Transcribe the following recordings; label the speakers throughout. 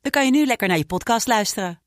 Speaker 1: dan kan je nu lekker naar je podcast luisteren.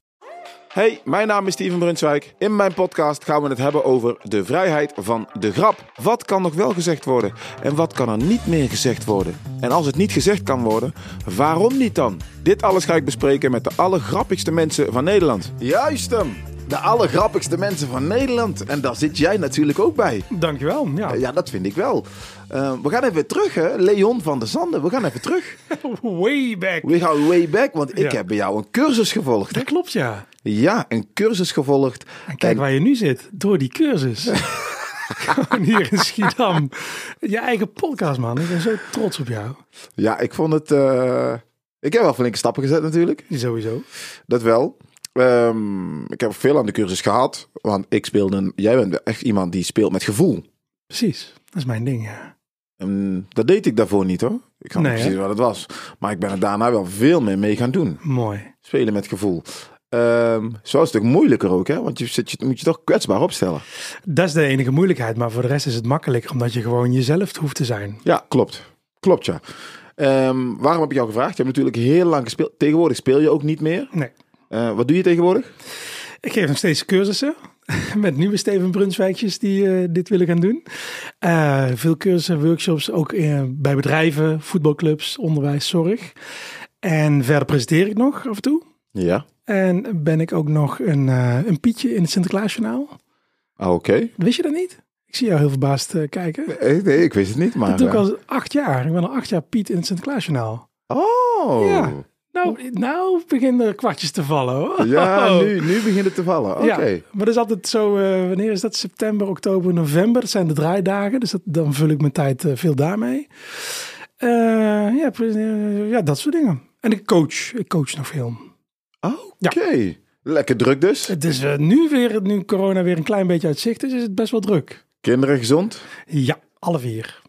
Speaker 2: Hey, mijn naam is Steven Brunswijk. In mijn podcast gaan we het hebben over de vrijheid van de grap. Wat kan nog wel gezegd worden en wat kan er niet meer gezegd worden? En als het niet gezegd kan worden, waarom niet dan? Dit alles ga ik bespreken met de allergrappigste mensen van Nederland.
Speaker 3: Juist hem. De allergrappigste mensen van Nederland. En daar zit jij natuurlijk ook bij.
Speaker 4: Dankjewel. Ja.
Speaker 3: Eh, Ja, dat vind ik wel. Eh, we gaan even terug, hè. Leon van der Zanden. We gaan even terug.
Speaker 4: Way back.
Speaker 3: We gaan way back, want ik
Speaker 4: Ja.
Speaker 3: heb bij jou een cursus gevolgd.
Speaker 4: Dat klopt, ja.
Speaker 3: Ja, een cursus gevolgd.
Speaker 4: En kijk waar je nu zit. Door die cursus. Gewoon hier in Schiedam. Je eigen podcast, man. Ik ben zo trots op jou.
Speaker 3: Ja, ik vond het... eh, Ik heb wel flinke stappen gezet natuurlijk.
Speaker 4: Sowieso.
Speaker 3: Dat wel. Ehm, ik heb veel aan de cursus gehad. Want ik speelde... Jij bent echt iemand die speelt met gevoel.
Speaker 4: Precies. Dat is mijn ding, ja.
Speaker 3: Ehm, dat deed ik daarvoor niet hoor. Ik ga niet
Speaker 4: Nee, hè?
Speaker 3: precies wat het was. Maar ik ben er daarna wel veel meer mee gaan doen.
Speaker 4: Mooi.
Speaker 3: Spelen met gevoel. Ehm zo is het ook moeilijker ook, hè? Want je, zit, je moet je toch kwetsbaar opstellen.
Speaker 4: Dat is de enige moeilijkheid. Maar voor de rest is het makkelijker. Omdat je gewoon jezelf hoeft te zijn.
Speaker 3: Ja, klopt. Klopt, ja. Ehm, waarom heb ik jou gevraagd? Je hebt natuurlijk heel lang gespeeld. Tegenwoordig speel je ook niet meer.
Speaker 4: Nee.
Speaker 3: Eh, wat doe je tegenwoordig?
Speaker 4: Ik geef nog steeds cursussen. Met nieuwe Steven Brunswijkjes die eh, dit willen gaan doen. Eh, veel cursussen, workshops, ook eh, bij bedrijven, voetbalclubs, onderwijs, zorg. En verder presenteer ik nog af en toe.
Speaker 3: Ja.
Speaker 4: En ben ik ook nog een, eh, een Pietje in het Sinterklaasjournaal.
Speaker 3: Ah, Oké.
Speaker 4: Wist je dat niet? Ik zie jou heel verbaasd eh, kijken.
Speaker 3: Eh, Nee, ik wist het niet, maar...
Speaker 4: dat doe ik
Speaker 3: eh,
Speaker 4: al acht jaar. Ik ben al acht jaar Piet in het Sinterklaasjournaal.
Speaker 3: Oh.
Speaker 4: Ja. Nou, nou beginnen er kwartjes te vallen hoor.
Speaker 3: Ja, nu, nu begint het te vallen. Oké.
Speaker 4: Oh. Ja, maar dat is altijd zo, eh, wanneer is dat? September, oktober, november. Dat zijn de draaidagen, dus dat, dan vul ik mijn tijd eh, veel daarmee. Eh, ja, pre- eh, ja, dat soort dingen. En ik coach, ik coach nog veel.
Speaker 3: Oké. Lekker druk dus.
Speaker 4: Het is eh, nu weer, nu corona weer een klein beetje uit zicht is, is het best wel druk.
Speaker 3: Kinderen gezond. Nou,
Speaker 4: Ja, alle vier.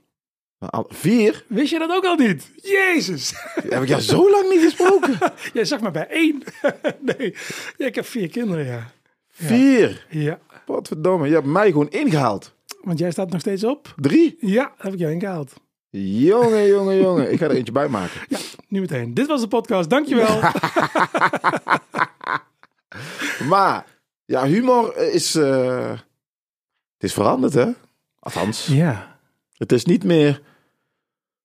Speaker 3: Al- Vier?
Speaker 4: Wist je dat ook al niet? Jezus!
Speaker 3: Heb ik jou zo lang niet gesproken?
Speaker 4: Jij zag maar bij één. nee, ja, ik heb vier kinderen, ja.
Speaker 3: Vier.
Speaker 4: Ja,
Speaker 3: Potverdomme, je hebt mij gewoon ingehaald.
Speaker 4: want jij staat nog steeds op.
Speaker 3: Drie.
Speaker 4: Ja, heb ik jou ingehaald.
Speaker 3: Jongen, jongen, jongen. Ik ga er eentje bij maken.
Speaker 4: Ja, nu meteen. Dit was de podcast, dankjewel.
Speaker 3: Maar, ja, humor is... eh, het is veranderd, hè? Althans,
Speaker 4: ja.
Speaker 3: het is niet meer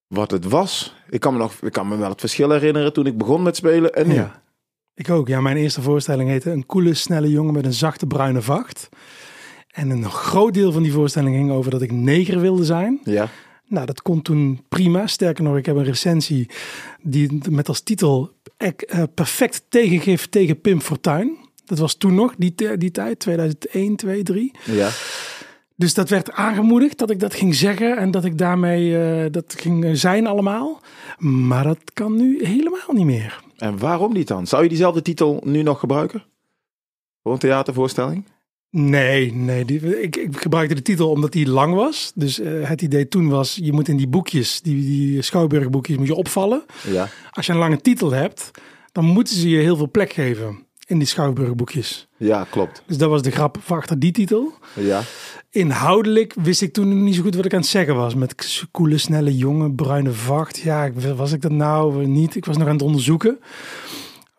Speaker 3: wat het was. Ik kan me, nog, ik kan me wel het verschil herinneren toen ik begon met spelen en nu.
Speaker 4: Ja. Ik ook. Ja, mijn eerste voorstelling heette Een koele, snelle jongen met een zachte bruine vacht. En een groot deel van die voorstelling ging over dat ik neger wilde zijn.
Speaker 3: Ja.
Speaker 4: Nou, dat komt toen prima. Sterker nog, ik heb een recensie die het met als titel ek- eh, Perfect tegengif tegen Pim Fortuyn. Dat was toen nog, die, te- die tijd, 2001, 2, 3.
Speaker 3: ja.
Speaker 4: Dus dat werd aangemoedigd dat ik dat ging zeggen en dat ik daarmee eh, dat ging eh, zijn allemaal. Maar dat kan nu helemaal niet meer.
Speaker 3: En waarom niet dan? Zou je diezelfde titel nu nog gebruiken? Voor een theatervoorstelling?
Speaker 4: Nee, nee. Die, ik, ik gebruikte de titel omdat die lang was. Dus eh, het idee toen was, je moet in die boekjes, die, die schouwburgboekjes, moet je opvallen.
Speaker 3: Ja.
Speaker 4: Als je een lange titel hebt, dan moeten ze je heel veel plek geven in die schouwburgboekjes.
Speaker 3: Ja, klopt.
Speaker 4: Dus dat was de grap van achter die titel.
Speaker 3: Ja.
Speaker 4: Inhoudelijk wist ik toen niet zo goed wat ik aan het zeggen was. Met k- koele, snelle, jonge, bruine vacht. Ja, ik- was ik dat nou niet? Ik was nog aan het onderzoeken.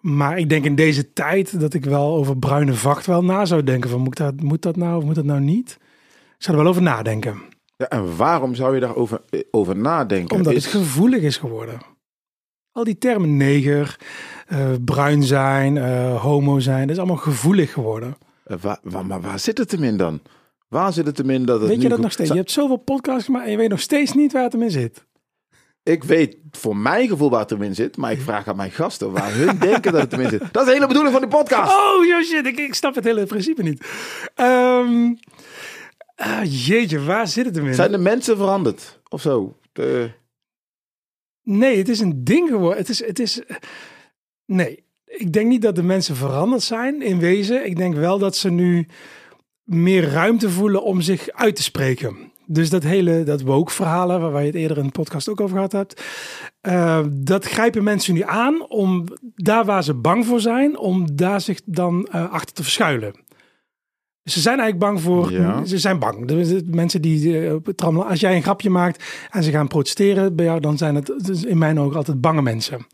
Speaker 4: Maar ik denk in deze tijd dat ik wel over bruine vacht wel na zou denken. Van, moet, ik dat, moet dat nou of moet dat nou niet? Ik zou er wel over nadenken.
Speaker 3: ja en waarom zou je daarover eh, over nadenken?
Speaker 4: Omdat
Speaker 3: Is-
Speaker 4: het gevoelig is geworden. Al die termen neger, eh, bruin zijn, eh, homo zijn. Dat is allemaal gevoelig geworden.
Speaker 3: Eh, Waar, waar- maar waar zit het hem in dan? Waar zit het hem in dat het
Speaker 4: Weet
Speaker 3: nu
Speaker 4: je dat
Speaker 3: goed-
Speaker 4: nog steeds? Je
Speaker 3: Zou-
Speaker 4: hebt zoveel podcasts gemaakt en je weet nog steeds niet waar het hem in zit.
Speaker 3: Ik weet voor mijn gevoel waar het hem in zit, maar ik vraag aan mijn gasten waar hun denken dat het hem in zit. Dat is de hele bedoeling van de podcast.
Speaker 4: Oh, joh, shit, ik, ik snap het hele principe niet. Ehm, ah, jeetje, waar zit het hem in?
Speaker 3: Zijn de mensen veranderd of zo? Eh, De-
Speaker 4: Nee, het is een ding geworden. Het is, het is... Nee, ik denk niet dat de mensen veranderd zijn in wezen. Ik denk wel dat ze nu meer ruimte voelen om zich uit te spreken. Dus dat hele, dat woke verhalen, waar wij het eerder in de podcast ook over gehad hebt. eh, dat grijpen mensen nu aan om daar waar ze bang voor zijn, om daar zich dan eh, achter te verschuilen. Dus Ze zijn eigenlijk bang voor,
Speaker 3: Ja.
Speaker 4: ze zijn bang. Dus het- mensen die eh, op het tram- als jij een grapje maakt en ze gaan protesteren bij jou, dan zijn het dus in mijn ogen altijd bange mensen.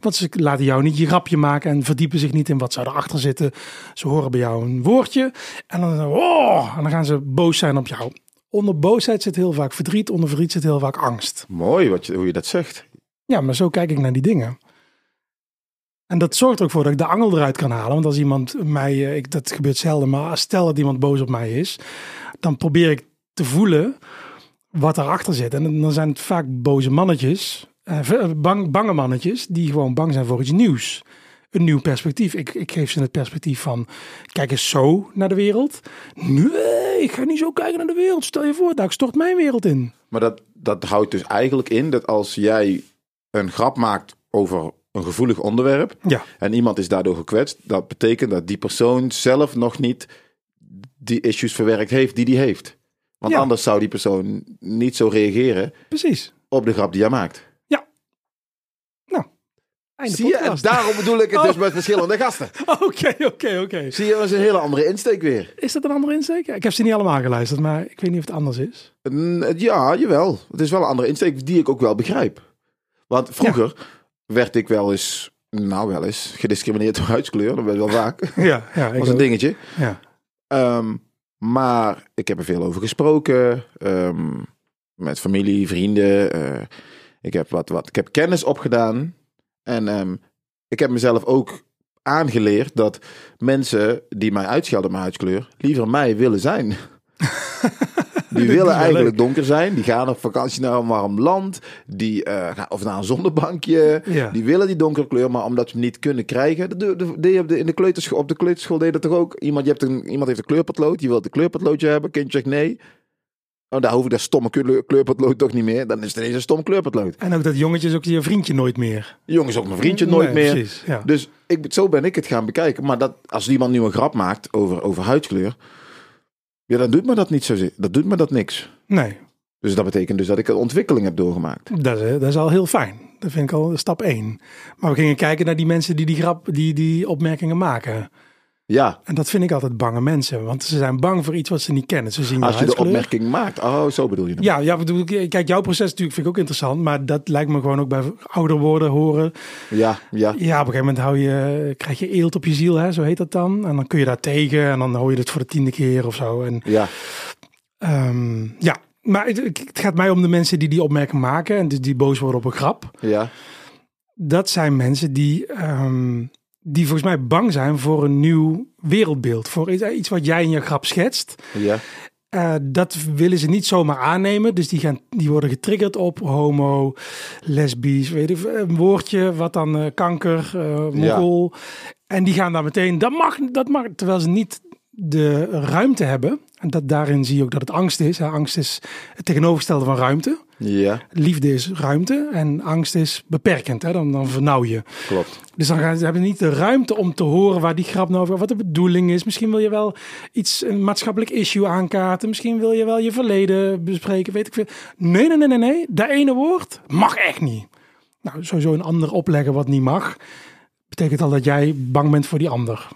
Speaker 4: Want ze laten jou niet je grapje maken en verdiepen zich niet in wat zou erachter zitten. Ze horen bij jou een woordje en dan, oh, en dan gaan ze boos zijn op jou. Onder boosheid zit heel vaak verdriet, onder verdriet zit heel vaak angst.
Speaker 3: Mooi wat je, hoe je dat zegt.
Speaker 4: Ja, maar zo kijk ik naar die dingen. En dat zorgt er ook voor dat ik de angel eruit kan halen. Want als iemand mij, eh, ik, dat gebeurt zelden, maar stel dat iemand boos op mij is, dan probeer ik te voelen wat erachter zit. En dan zijn het vaak boze mannetjes, eh, v- eh, bang, bange mannetjes, die gewoon bang zijn voor iets nieuws. Een nieuw perspectief. Ik, ik geef ze het perspectief van, kijk eens zo naar de wereld. Nee, ik ga niet zo kijken naar de wereld. Stel je voor, daar stort mijn wereld in.
Speaker 3: Maar dat, dat houdt dus eigenlijk in dat als jij een grap maakt over een gevoelig onderwerp
Speaker 4: Ja.
Speaker 3: en iemand is daardoor gekwetst, dat betekent dat die persoon zelf nog niet die issues verwerkt heeft die die heeft. Want
Speaker 4: Ja.
Speaker 3: anders zou die persoon niet zo reageren
Speaker 4: Precies.
Speaker 3: op de grap die jij maakt.
Speaker 4: Einde
Speaker 3: Zie je, en
Speaker 4: podcast. Oh.
Speaker 3: daarom bedoel ik het dus met verschillende gasten.
Speaker 4: Oké, oké, oké.
Speaker 3: Zie je, dat is een hele andere insteek weer.
Speaker 4: Is dat een andere insteek? Ja, Ik heb ze niet allemaal geluisterd, maar ik weet niet of het anders is.
Speaker 3: Mm, Ja, jawel. Het is wel een andere insteek die ik ook wel begrijp. Want vroeger werd ik wel eens, nou wel eens, gediscrimineerd door huidskleur. Dat werd wel vaak. Dat
Speaker 4: Ja, ja. Ik
Speaker 3: was een
Speaker 4: ook.
Speaker 3: dingetje.
Speaker 4: Ja.
Speaker 3: Ehm, maar ik heb er veel over gesproken. ehm, met familie, vrienden. eh, ik, heb wat, wat, ik heb kennis opgedaan. En ehm, ik heb mezelf ook aangeleerd dat mensen die mij uitschelden op mijn huidskleur... liever mij willen zijn. Die
Speaker 4: is wel
Speaker 3: willen eigenlijk donker zijn. Die gaan op vakantie naar een warm land. Die, eh, gaan- of naar een zonnebankje.
Speaker 4: Ja.
Speaker 3: Die willen die donkere kleur, maar omdat ze hem niet kunnen krijgen. Dat doe- dat deed je op de, in de kleuterschool, op de kleuterschool deed dat toch ook? Iemand, je hebt een, iemand heeft een kleurpotlood. Die wil een kleurpotloodje hebben. Kindje zegt nee. Oh, daar hoef ik dat stomme kleur- kleurpotlood toch niet meer. Dan is het ineens een stom kleurpotlood.
Speaker 4: En ook dat jongetje is ook je vriendje nooit meer.
Speaker 3: Jongens, ook mijn vriendje nooit
Speaker 4: Mm, Nee,
Speaker 3: meer.
Speaker 4: Precies, ja.
Speaker 3: Dus ik, zo ben ik het gaan bekijken. Maar dat, als iemand nu een grap maakt over, over huidskleur. Ja, dan doet me dat niet zozeer. Dat doet me dat niks.
Speaker 4: Nee,
Speaker 3: Dus dat betekent dus dat ik een ontwikkeling heb doorgemaakt.
Speaker 4: dat is, eh, dat is al heel fijn. Dat vind ik al stap één. Maar we gingen kijken naar die mensen die die, grap, die die opmerkingen maken.
Speaker 3: Ja,
Speaker 4: En dat vind ik altijd bange mensen. Want ze zijn bang voor iets wat ze niet kennen. Ze zien
Speaker 3: als je de
Speaker 4: huidskleur.
Speaker 3: opmerking maakt. Oh, zo bedoel je dat.
Speaker 4: Ja, ja, bedoel, ik- kijk, jouw proces natuurlijk vind ik ook interessant. Maar dat lijkt me gewoon ook bij ouder worden horen.
Speaker 3: Ja, ja.
Speaker 4: Ja, op een gegeven moment hou je, krijg je eelt op je ziel, hè, zo heet dat dan. En dan kun je daar tegen en dan hoor je het voor de tiende keer of zo. En,
Speaker 3: ja.
Speaker 4: ehm, ja, maar het, het gaat mij om de mensen die die opmerking maken en dus die boos worden op een grap.
Speaker 3: Ja,
Speaker 4: Dat zijn mensen die, ehm, die volgens mij bang zijn voor een nieuw wereldbeeld. Voor iets- iets wat jij in je grap schetst.
Speaker 3: ja,
Speaker 4: Eh, dat willen ze niet zomaar aannemen. Dus die, gaan, die worden getriggerd op homo, lesbisch, weet ik, een woordje, wat dan eh, kanker, eh mongool. En die gaan daar meteen, dat mag, dat mag, terwijl ze niet de ruimte hebben. En dat, daarin zie je ook dat het angst is. hè. Angst is het tegenovergestelde van ruimte.
Speaker 3: ja,
Speaker 4: Liefde is ruimte en angst is beperkend. Hè? Dan, dan vernauw je.
Speaker 3: klopt.
Speaker 4: Dus dan gaan, ze hebben niet de ruimte om te horen waar die grap nou over wat de bedoeling is. Misschien wil je wel iets, een maatschappelijk issue aankaarten. Misschien wil je wel je verleden bespreken, weet ik veel. Nee, nee, nee, nee, nee. Dat ene woord mag echt niet. Nou, sowieso een ander opleggen wat niet mag, betekent al dat jij bang bent voor die ander.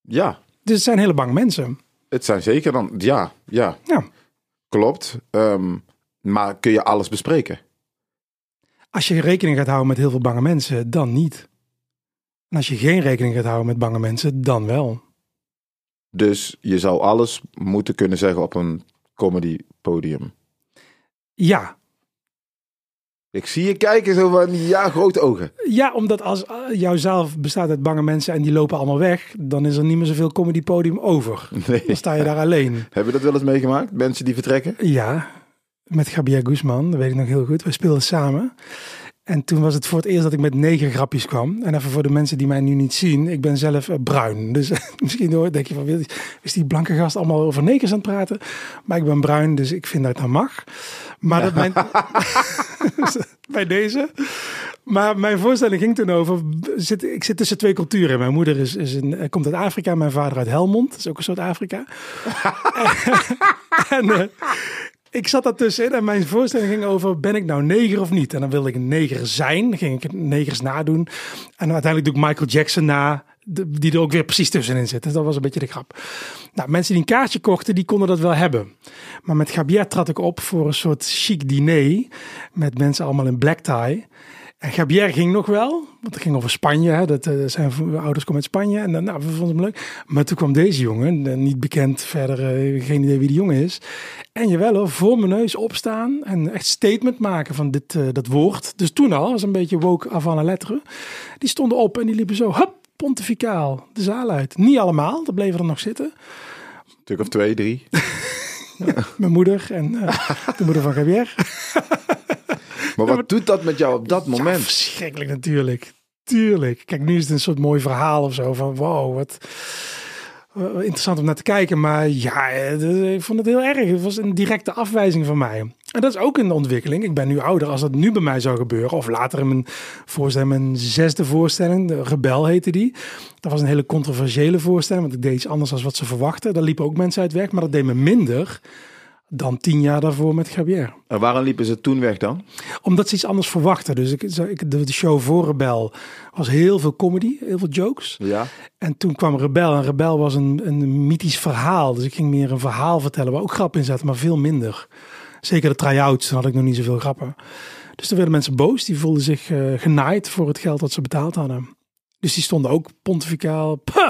Speaker 3: Ja,
Speaker 4: Dus het zijn hele bang mensen.
Speaker 3: het zijn zeker dan. Ja, ja,
Speaker 4: Ja,
Speaker 3: klopt. Ehm, maar kun je alles bespreken?
Speaker 4: als je rekening gaat houden met heel veel bange mensen, dan niet. En als je geen rekening gaat houden met bange mensen, dan wel.
Speaker 3: Dus je zou alles moeten kunnen zeggen op een comedy podium.
Speaker 4: Ja,
Speaker 3: Ik zie je kijken zo van, ja, grote ogen.
Speaker 4: Ja, omdat als eh, jouw zaal bestaat uit bange mensen en die lopen allemaal weg, dan is er niet meer zoveel comedy podium over.
Speaker 3: Nee.
Speaker 4: Dan sta je daar alleen.
Speaker 3: Heb je dat wel eens meegemaakt? Mensen die vertrekken?
Speaker 4: Ja, met Gabriel Guzman, dat weet ik nog heel goed. We speelden samen. En toen was het voor het eerst dat ik met negen grapjes kwam. En even voor de mensen die mij nu niet zien, ik ben zelf eh, bruin. Dus misschien hoor- denk je van, wil- is die blanke gast allemaal over negers aan het praten? Maar ik ben bruin, dus ik vind dat dat mag. Maar dat mijn... Dus bij deze. Maar mijn voorstelling ging toen over, zit, ik zit tussen twee culturen. Mijn moeder is, is een, komt uit Afrika, mijn vader uit Helmond. Dat is ook een soort Afrika. en eh, ik zat daartussenin en mijn voorstelling ging over, ben ik nou neger of niet? En dan wilde ik een neger zijn, dan ging ik negers nadoen. En uiteindelijk doe ik Michael Jackson na, de- die er ook weer precies tussenin zit. Dus dat was een beetje de grap. Nou, mensen die een kaartje kochten, die konden dat wel hebben. Maar met Gabier trad ik op voor een soort chic diner, met mensen allemaal in black tie. En Gabier ging nog wel, want het ging over Spanje. Hè? Dat, eh, zijn v- ouders komen uit Spanje en dan, nou, we vonden hem leuk. Maar toen kwam deze jongen, eh, niet bekend verder, eh, geen idee wie die jongen is. En jawel hoor, voor mijn neus opstaan en echt statement maken van dit, eh, dat woord. Dus toen al, was een beetje woke avant la lettre. Die stonden op en die liepen zo, hup, pontificaal, de zaal uit. Niet allemaal, dat bleven er nog zitten.
Speaker 3: stuk of twee, drie.
Speaker 4: Mijn moeder en eh, de moeder van Gabier.
Speaker 3: Maar wat doet dat met jou op dat
Speaker 4: Ja,
Speaker 3: moment?
Speaker 4: verschrikkelijk natuurlijk. Tuurlijk. Kijk, nu is het een soort mooi verhaal of zo. Van wow, wat eh, interessant om naar te kijken. Maar ja, eh, ik vond het heel erg. Het was een directe afwijzing van mij. En dat is ook een ontwikkeling. Ik ben nu ouder. Als dat nu bij mij zou gebeuren. Of later in mijn voorstelling, mijn zesde voorstelling. De Rebel heette die. Dat was een hele controversiële voorstelling. Want ik deed iets anders dan wat ze verwachten. Daar liepen ook mensen uit weg. Maar dat deed me minder dan tien jaar daarvoor met Javier
Speaker 3: En waarom liepen ze toen weg dan?
Speaker 4: omdat ze iets anders verwachten. Dus ik, zo- ik- de, de show voor Rebel was heel veel comedy, heel veel jokes.
Speaker 3: Ja.
Speaker 4: En toen kwam Rebel. En Rebel was een, een mythisch verhaal. Dus ik ging meer een verhaal vertellen waar ook grap in zaten, maar veel minder. Zeker de try-outs, toen had ik nog niet zoveel grappen. Dus toen werden mensen boos. Die voelden zich eh, genaaid voor het geld dat ze betaald hadden. Dus die stonden ook pontificaal. "Puh,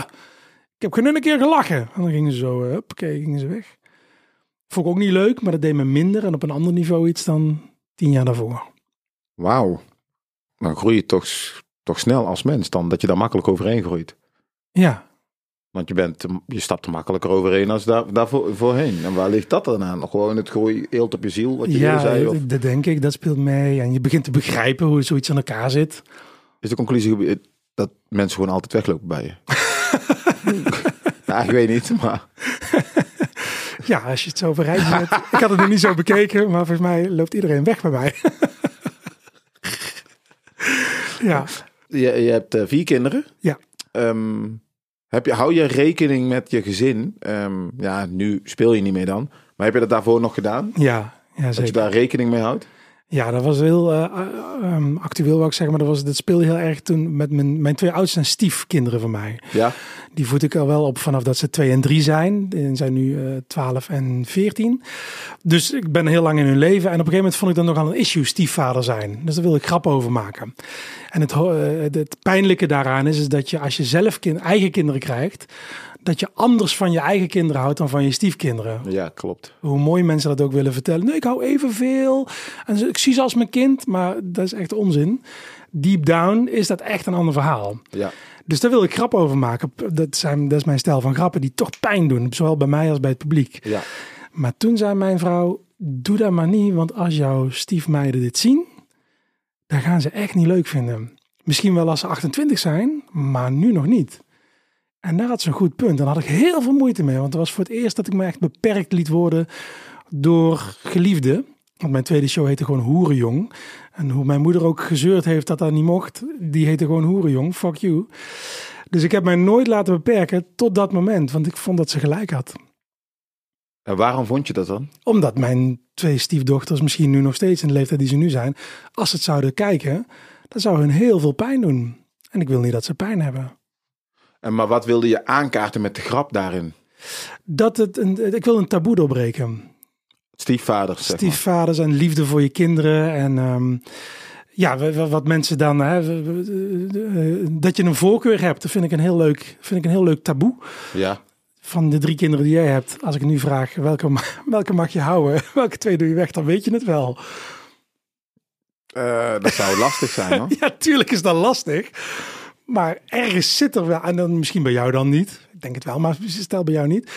Speaker 4: ik heb geen een keer gelachen. En dan gingen ze zo, eh, hoppakee, gingen ze weg. Vond ik ook niet leuk, maar dat deed me minder en op een ander niveau iets dan tien jaar daarvoor.
Speaker 3: Wauw. Dan groei je toch, s- toch snel als mens dan, dat je daar makkelijk overheen groeit.
Speaker 4: Ja,
Speaker 3: Want je, bent, te- je stapt er makkelijker overheen als daar, daarvoor voorheen. En waar ligt dat dan aan? Gewoon het groei eelt op je ziel, wat je
Speaker 4: ja
Speaker 3: eerder zei? Of
Speaker 4: d- dat denk ik. Dat speelt mee. En je begint te begrijpen hoe zoiets aan elkaar zit.
Speaker 3: is de conclusie gebe- dat mensen gewoon altijd weglopen bij je? nou, ik weet niet, maar...
Speaker 4: Ja, als je het zo bereikt hebt. ik had het nog niet zo bekeken, maar volgens mij loopt iedereen weg bij mij. ja,
Speaker 3: Je, je hebt eh, vier kinderen.
Speaker 4: Ja.
Speaker 3: Ehm, heb je, hou je rekening met je gezin? Ehm, ja, nu speel je niet meer dan. Maar heb je dat daarvoor nog gedaan?
Speaker 4: ja, ja
Speaker 3: Dat je
Speaker 4: zeker.
Speaker 3: daar rekening mee houdt?
Speaker 4: Ja, dat was heel eh, eh, ehm, actueel, wou ik zeggen. Maar dat, was, dat speelde heel erg toen met mijn, mijn twee oudste en stiefkinderen van mij.
Speaker 3: Ja.
Speaker 4: Die voed ik al wel op vanaf dat ze twee en drie zijn. En zijn nu eh, 12 en 14. Dus ik ben heel lang in hun leven. En op een gegeven moment vond ik dat nogal een issue stiefvader zijn. Dus daar wil ik grap over maken. En het, ho- eh, het pijnlijke daaraan is, is dat je als je zelf kin- eigen kinderen krijgt... dat je anders van je eigen kinderen houdt dan van je stiefkinderen
Speaker 3: Ja, klopt.
Speaker 4: hoe mooi mensen dat ook willen vertellen. Nee, ik hou evenveel. En ze- ik zie ze als mijn kind, maar dat is echt onzin. Deep down is dat echt een ander verhaal.
Speaker 3: Ja.
Speaker 4: Dus daar wil ik grap over maken. P- Dat, zijn, dat is mijn stijl van grappen die toch pijn doen. Zowel bij mij als bij het publiek.
Speaker 3: ja.
Speaker 4: Maar toen zei mijn vrouw, doe dat maar niet. Want als jouw stiefmeiden dit zien, dan gaan ze echt niet leuk vinden. Misschien wel als ze 28 zijn, maar nu nog niet. En daar had ze een goed punt. Dan had ik heel veel moeite mee. Want het was voor het eerst dat ik me echt beperkt liet worden door geliefden. Want mijn tweede show heette gewoon Hoerenjong. En hoe mijn moeder ook gezeurd heeft dat dat niet mocht, die heette gewoon Hoerenjong. Fuck you. Dus ik heb mij nooit laten beperken tot dat moment. Want ik vond dat ze gelijk had
Speaker 3: En waarom vond je dat dan?
Speaker 4: omdat mijn twee stiefdochters misschien nu nog steeds in de leeftijd die ze nu zijn, als ze het zouden kijken, dan zou hun heel veel pijn doen. En ik wil niet dat ze pijn hebben.
Speaker 3: En maar wat wilde je aankaarten met de grap daarin?
Speaker 4: Dat het een, ik wil een taboe doorbreken.
Speaker 3: Stiefvaders, zeg maar.
Speaker 4: Stiefvaders en liefde voor je kinderen. En ehm, ja, w- w- wat mensen dan. Hè, w- w- eh, dat je een voorkeur hebt, dat vind ik een heel leuk, vind ik een heel leuk taboe.
Speaker 3: Ja.
Speaker 4: van de drie kinderen die jij hebt, als ik nu vraag welke, ma- welke mag je houden, welke twee doe je weg, dan weet je het wel.
Speaker 3: Eh, dat zou lastig zijn, hoor.
Speaker 4: Ja, tuurlijk is dat lastig. Maar ergens zit er wel, en dan misschien bij jou dan niet. Ik denk het wel, maar stel bij jou niet.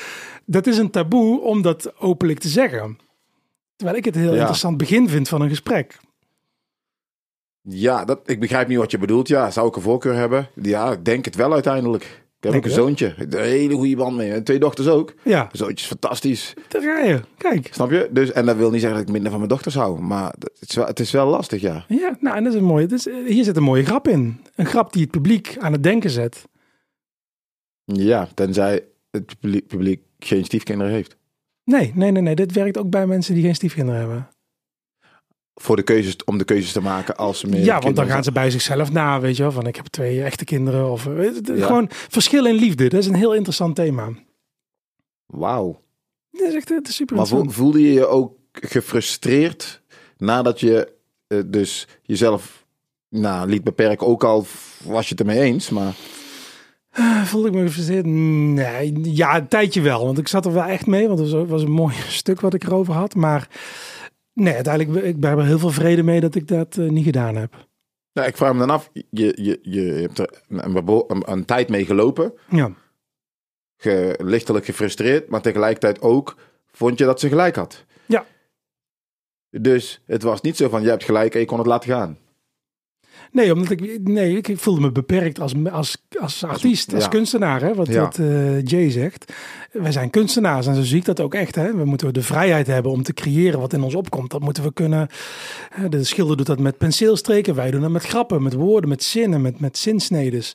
Speaker 4: Dat is een taboe om dat openlijk te zeggen. Terwijl ik het een heel
Speaker 3: Ja.
Speaker 4: interessant begin vind van een gesprek.
Speaker 3: Ja, dat, ik begrijp niet wat je bedoelt. Ja, zou ik een voorkeur hebben? Ja, ik denk het wel uiteindelijk. Ik heb ook
Speaker 4: Lekker,
Speaker 3: een
Speaker 4: hè?
Speaker 3: zoontje. Ik heb Een hele goede band mee. En twee dochters ook.
Speaker 4: Ja,
Speaker 3: Mijn zoontje is fantastisch.
Speaker 4: daar ga je. Kijk.
Speaker 3: Snap je? Dus, en dat wil niet zeggen dat ik minder van mijn dochters hou. Maar dat- het is wel, het is wel lastig, ja.
Speaker 4: Ja, nou, en dat is een mooie. Dus, eh, hier zit een mooie grap in. Een grap die het publiek aan het denken zet.
Speaker 3: Ja, tenzij het publiek, publiek geen stiefkinderen heeft.
Speaker 4: Nee, nee, nee, nee. Dit werkt ook bij mensen die geen stiefkinderen hebben.
Speaker 3: Voor de keuzes, om de keuzes te maken als ze meer
Speaker 4: ja, want dan
Speaker 3: kinderen
Speaker 4: gaan ze bij zichzelf na, weet je wel. Van ik heb twee echte kinderen. Of, eh, het- het-
Speaker 3: Ja.
Speaker 4: Gewoon verschil in liefde. Dat is een heel interessant thema.
Speaker 3: zijn. Wauw.
Speaker 4: Dat is echt het is super
Speaker 3: Maar vo-
Speaker 4: interessant.
Speaker 3: voelde je je ook gefrustreerd nadat je eh, dus jezelf nou, liet beperken? Ook al was je het ermee eens, maar
Speaker 4: Eh, Voelde ik me gefrustreerd? Nee, ja, een tijdje wel. Want ik zat er wel echt mee. Want het was, was een mooi stuk wat ik erover had. Maar nee, uiteindelijk ik ben er heel veel vrede mee dat ik dat eh, niet gedaan heb.
Speaker 3: nou, ik vraag me dan af, je, je, je hebt er een, bebo- een, een tijd mee gelopen,
Speaker 4: Ja.
Speaker 3: ge, lichtelijk gefrustreerd, maar tegelijkertijd ook vond je dat ze gelijk had.
Speaker 4: Ja.
Speaker 3: Dus het was niet zo van, je hebt gelijk en je kon het laten gaan.
Speaker 4: Nee, omdat ik, nee, ik ik voelde me beperkt als, als, als artiest, als
Speaker 3: ja.
Speaker 4: kunstenaar, hè, wat,
Speaker 3: Ja.
Speaker 4: wat eh, Jay zegt. Wij zijn kunstenaars en zo zie ik dat ook echt. Hè. We moeten de vrijheid hebben om te creëren wat in ons opkomt. Dat moeten we kunnen. hè, De schilder doet dat met penseelstreken, wij doen dat met grappen, met woorden, met zinnen, met, met zinsnedes.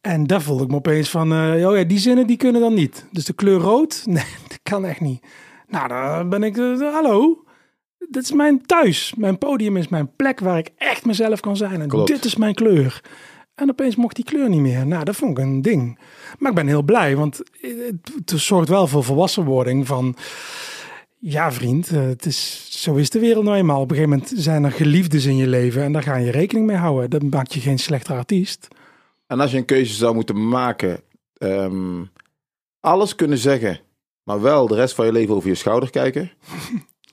Speaker 4: En daar voelde ik me opeens van, eh, oh ja, die zinnen die kunnen dan niet. Dus de kleur rood, nee, dat kan echt niet. Nou, dan ben ik, eh, hallo, dit is mijn thuis. Mijn podium is mijn plek waar ik echt mezelf kan zijn. En
Speaker 3: Klopt.
Speaker 4: dit is mijn kleur. En opeens mocht die kleur niet meer. Nou, dat vond ik een ding. Maar ik ben heel blij, want het, het zorgt wel voor volwassenwording van... Ja, vriend, eh, het is, zo is de wereld nou eenmaal. Op een gegeven moment zijn er geliefdes in je leven en daar ga je rekening mee houden. Dat maakt je geen slechter artiest.
Speaker 3: En als je een keuze zou moeten maken, ehm, alles kunnen zeggen, maar wel de rest van je leven over je schouder kijken.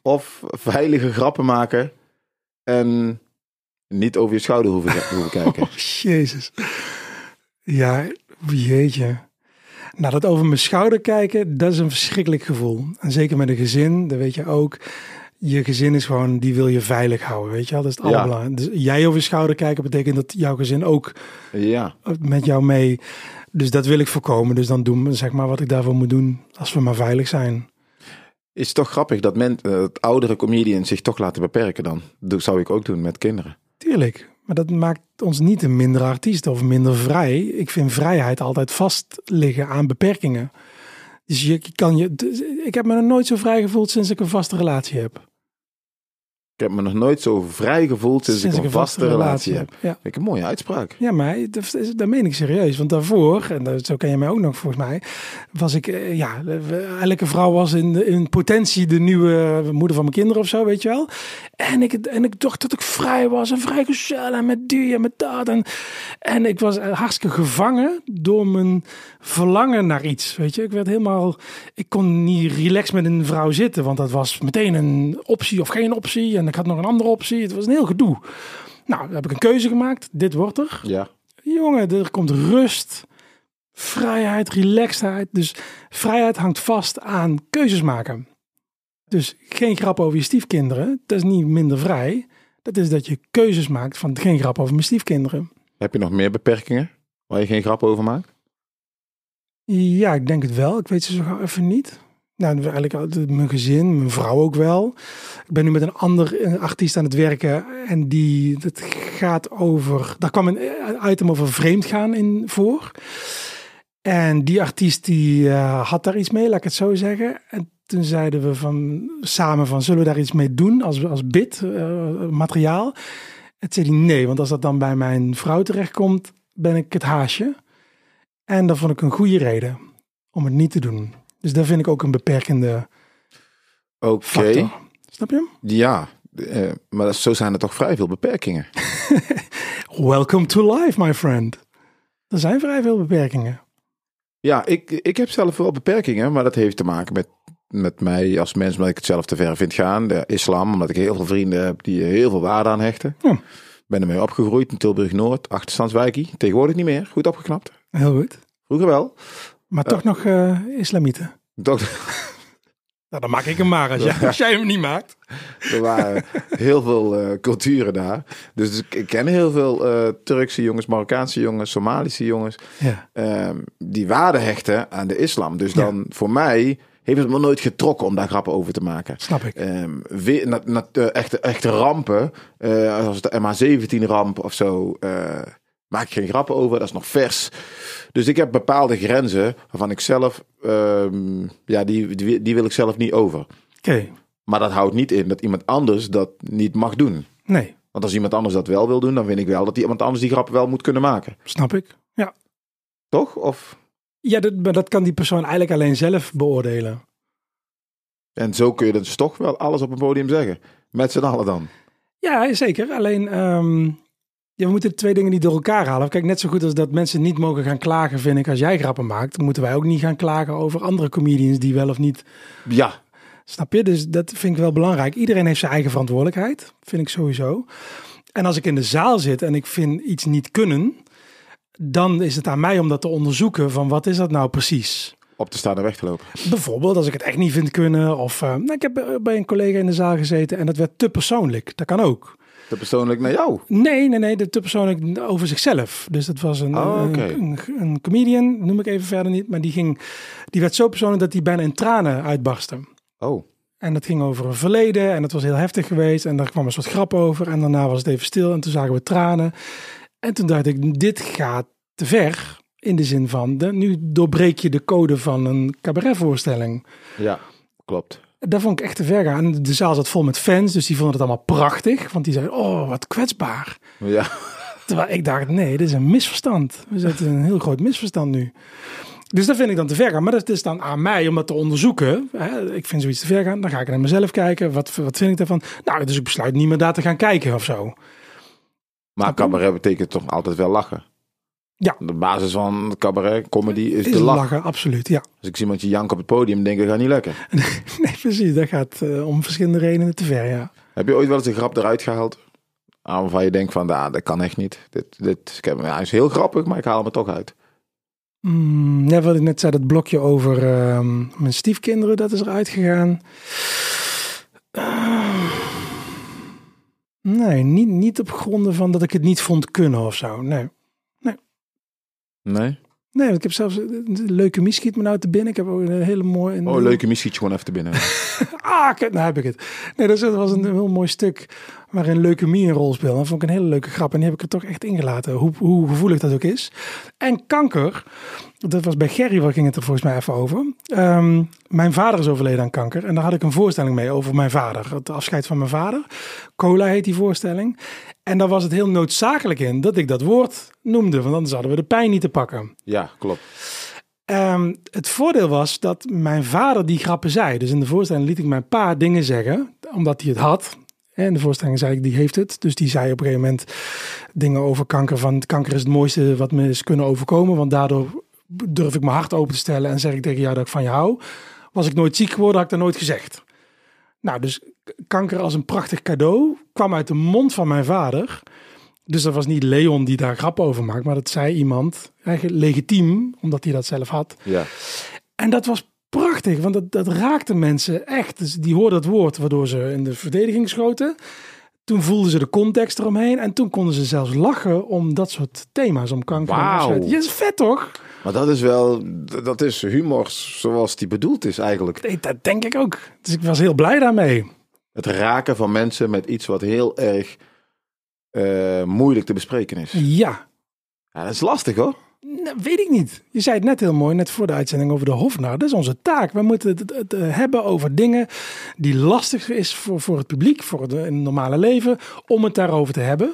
Speaker 3: of veilige grappen maken en niet over je schouder hoeven, hoeven kijken.
Speaker 4: Jezus. Ja, jeetje. Nou, dat over mijn schouder kijken, dat is een verschrikkelijk gevoel. En zeker met een gezin, dat weet je ook. Je gezin is gewoon, die wil je veilig houden, weet je wel. Dat is het
Speaker 3: Ja.
Speaker 4: allerbelangrijkste. Dus jij over je schouder kijken betekent dat jouw gezin ook
Speaker 3: Ja,
Speaker 4: met jou mee. Dus dat wil ik voorkomen. Dus dan doen we zeg maar wat ik daarvoor moet doen, als we maar veilig zijn.
Speaker 3: is toch grappig dat, men, eh, dat oudere comedians zich toch laten beperken dan. Dat zou ik ook doen met kinderen.
Speaker 4: Tuurlijk. Maar dat maakt ons niet een minder artiest of minder vrij. Ik vind vrijheid altijd vast liggen aan beperkingen. Dus je kan je. dus Ik heb me nog nooit zo vrij gevoeld sinds ik een vaste relatie heb.
Speaker 3: Ik heb me nog nooit zo vrij gevoeld sinds, ik een vaste, relatie heb.
Speaker 4: Ja.
Speaker 3: Vind Ik een mooie uitspraak.
Speaker 4: Ja, maar dat, is- dat meen ik serieus. Want daarvoor, en dat, zo ken je mij ook nog volgens mij, was ik, eh, ja, eh, elke vrouw was in, de- in potentie de nieuwe moeder van mijn kinderen of zo, weet je wel. En ik, en ik dacht dat ik vrij was en vrijgezel en met die en met dat. En, en ik was eh, hartstikke gevangen door mijn verlangen naar iets, weet je. Ik werd helemaal, ik kon niet relaxed met een vrouw zitten, want dat was meteen een optie of geen optie. En ik had nog een andere optie. Het was een heel gedoe. Nou, dan heb ik een keuze gemaakt. Dit wordt er.
Speaker 3: Ja.
Speaker 4: Jongen, er komt rust, vrijheid, relaxedheid. Dus vrijheid hangt vast aan keuzes maken. Dus geen grap over je stiefkinderen, dat is niet minder vrij. Dat is dat je keuzes maakt van geen grap over mijn stiefkinderen.
Speaker 3: Heb je nog meer beperkingen waar je geen grap over maakt?
Speaker 4: Ja, ik denk het wel. Ik weet ze zo gauw even niet. Nou, eigenlijk altijd mijn gezin, mijn vrouw ook wel. Ik ben nu met een ander eh, artiest aan het werken. En die, dat gaat over... Daar kwam een eh, item over vreemdgaan in voor. En die artiest die eh, had daar iets mee, laat ik het zo zeggen. En toen zeiden we van, samen van, zullen we daar iets mee doen als, als bid, eh, materiaal? En toen zei hij nee, want als dat dan bij mijn vrouw terechtkomt, ben ik het haasje. En dat vond ik een goede reden om het niet te doen. Dus daar vind ik ook een beperkende
Speaker 3: Oké.
Speaker 4: factor. Snap je?
Speaker 3: Ja, eh, maar dat- zo zijn er toch vrij veel beperkingen.
Speaker 4: Welcome to life, my friend. Er zijn vrij veel beperkingen.
Speaker 3: Ja, ik, ik heb zelf wel beperkingen, maar dat heeft te maken met, met mij als mens, omdat ik het zelf te ver vind gaan. De islam, omdat ik heel veel vrienden heb die er heel veel waarde aan hechten.
Speaker 4: Ja.
Speaker 3: Ben ermee opgegroeid in Tilburg-Noord, achterstandswijkie. Tegenwoordig niet meer, goed opgeknapt.
Speaker 4: Heel goed.
Speaker 3: Vroeger wel.
Speaker 4: Maar toch nog eh, islamieten.
Speaker 3: Toch,
Speaker 4: Nou, dan maak ik hem maar als jij, als jij hem niet maakt.
Speaker 3: Er waren heel veel eh, culturen daar. Dus ik, ik ken heel veel eh, Turkse jongens, Marokkaanse jongens, Somalische jongens.
Speaker 4: Ja.
Speaker 3: ehm, die waarde hechten aan de islam. Dus dan voor mij heeft het me nooit getrokken om daar grappen over te maken.
Speaker 4: Snap ik.
Speaker 3: Ehm, weer, na, na- eh, echte, echte rampen, eh als de MH17-ramp of zo, eh, maak ik geen grappen over. Dat is nog vers. Dus ik heb bepaalde grenzen waarvan ik zelf, ehm, ja, die, die, die wil ik zelf niet over.
Speaker 4: Oké,
Speaker 3: Maar dat houdt niet in dat iemand anders dat niet mag doen.
Speaker 4: nee,
Speaker 3: Want als iemand anders dat wel wil doen, dan vind ik wel dat iemand anders die grap wel moet kunnen maken.
Speaker 4: snap ik. Ja,
Speaker 3: Toch? Of...
Speaker 4: ja dat, maar dat kan die persoon eigenlijk alleen zelf beoordelen.
Speaker 3: En zo kun je dus toch wel alles op een podium zeggen. Met z'n allen dan.
Speaker 4: Ja, zeker. Alleen, ehm, ja, we moeten de twee dingen niet door elkaar halen. Kijk, net zo goed als dat mensen niet mogen gaan klagen, vind ik, als jij grappen maakt, moeten wij ook niet gaan klagen over andere comedians die wel of niet.
Speaker 3: Ja.
Speaker 4: Snap je? Dus dat vind ik wel belangrijk. Iedereen heeft zijn eigen verantwoordelijkheid, vind ik sowieso. En als ik in de zaal zit en ik vind iets niet kunnen, dan is het aan mij om dat te onderzoeken van wat is dat nou precies?
Speaker 3: Op te staan en weg te lopen.
Speaker 4: Bijvoorbeeld als ik het echt niet vind kunnen. Of eh, nou, ik heb eh, bij een collega in de zaal gezeten en dat werd te persoonlijk. Dat kan ook.
Speaker 3: Te persoonlijk naar jou.
Speaker 4: Nee, nee, nee, de te persoonlijk over zichzelf. Dus dat was een,
Speaker 3: Oh,
Speaker 4: een-
Speaker 3: oké.
Speaker 4: een, een comedian, noem ik even verder niet. Maar die, ging, die werd zo persoonlijk dat hij bijna in tranen uitbarstte.
Speaker 3: Oh.
Speaker 4: En dat ging over een verleden en dat was heel heftig geweest. En daar kwam een soort grap over en daarna was het even stil en toen zagen we tranen. En toen dacht ik, dit gaat te ver. In de zin van, de, nu doorbreek je de code van een cabaretvoorstelling.
Speaker 3: Ja. Klopt.
Speaker 4: Daar vond ik echt te ver gaan. En De zaal zat vol met fans, dus die vonden het allemaal prachtig. Want die zeiden, oh, wat kwetsbaar.
Speaker 3: Ja.
Speaker 4: Terwijl ik dacht, nee, dit is een misverstand. We zitten in een heel groot misverstand nu. Dus dat vind ik dan te ver gaan. Maar dat is dan aan mij om dat te onderzoeken. Hè, Ik vind zoiets te ver gaan. Dan ga ik naar mezelf kijken. Wat, wat vind ik daarvan? Nou, dus ik besluit niet meer daar te gaan kijken of zo.
Speaker 3: Maar cabaret betekent toch altijd wel lachen.
Speaker 4: Ja.
Speaker 3: De basis van cabaret, comedy is,
Speaker 4: Is
Speaker 3: de lach.
Speaker 4: lachen, absoluut. Ja,
Speaker 3: Als ik zie iemand je janken op het podium, denk ik, ga niet lekker.
Speaker 4: nee, precies. Dat gaat eh, om verschillende redenen te ver, ja.
Speaker 3: Heb je ooit wel eens een grap eruit gehaald? Ah, Waarvan je denkt van, ah, dat kan echt niet. Dit, dit, ik heb, ja, hij is heel grappig, maar ik haal hem er toch uit.
Speaker 4: Mm, ja, wat ik net zei, dat blokje over ehm, mijn stiefkinderen, dat is eruit gegaan. Ehm, nee, niet, niet op gronden van dat ik het niet vond kunnen of zo. Nee,
Speaker 3: Nee?
Speaker 4: nee want ik heb zelfs... de- de Leuke schiet me nou te binnen. Ik heb ook een hele mooie...
Speaker 3: Oh, leuke missietje gewoon even te binnen.
Speaker 4: Ah, kut, nou heb ik het. Nee, dat is- dat was een heel mooi stuk waarin leukemie een rol speelde. Dat vond ik een hele leuke grap en die heb ik er toch echt ingelaten, hoe, hoe gevoelig dat ook is. En kanker, dat was bij Gerry, waar ging het er volgens mij even over. Ehm, mijn vader is overleden aan kanker en daar had ik een voorstelling mee over mijn vader. Het afscheid van mijn vader. Cola heet die voorstelling. En daar was het heel noodzakelijk in dat ik dat woord noemde, want anders hadden we de pijn niet te pakken.
Speaker 3: Ja, klopt.
Speaker 4: Ehm, het voordeel was dat mijn vader die grappen zei. Dus in de voorstelling liet ik mijn pa dingen zeggen, omdat hij het had. En in de voorstelling zei ik, die heeft het. Dus die zei op een gegeven moment dingen over kanker. Van kanker is het mooiste wat me is kunnen overkomen. Want daardoor durf ik mijn hart open te stellen en zeg ik tegen jou dat ik van je hou. Was ik nooit ziek geworden, had ik dat nooit gezegd. Nou, dus k- kanker als een prachtig cadeau kwam uit de mond van mijn vader. Dus dat was niet Leon die daar grap over maakt, maar dat zei iemand, hè, legitiem, omdat hij dat zelf had.
Speaker 3: Ja.
Speaker 4: En dat was prachtig, want dat, dat raakte mensen echt. Dus die hoorden dat woord, waardoor ze in de verdediging schoten. Toen voelden ze de context eromheen en toen konden ze zelfs lachen om dat soort thema's, om kanker. en
Speaker 3: Wauw.
Speaker 4: afscheid. Ja, is vet toch?
Speaker 3: Maar dat is wel, d- dat is humor zoals die bedoeld is eigenlijk.
Speaker 4: Nee, Dat denk ik ook. Dus ik was heel blij daarmee.
Speaker 3: Het raken van mensen met iets wat heel erg eh, moeilijk te bespreken is.
Speaker 4: Ja,
Speaker 3: Ja, dat is lastig hoor.
Speaker 4: Nou, weet ik niet. Je zei het net heel mooi, net voor de uitzending over de Hofnar. Dat is onze taak. We moeten het, het- het, eh, hebben over dingen die lastig is voor, voor het publiek, voor de, in het normale leven, om het daarover te hebben.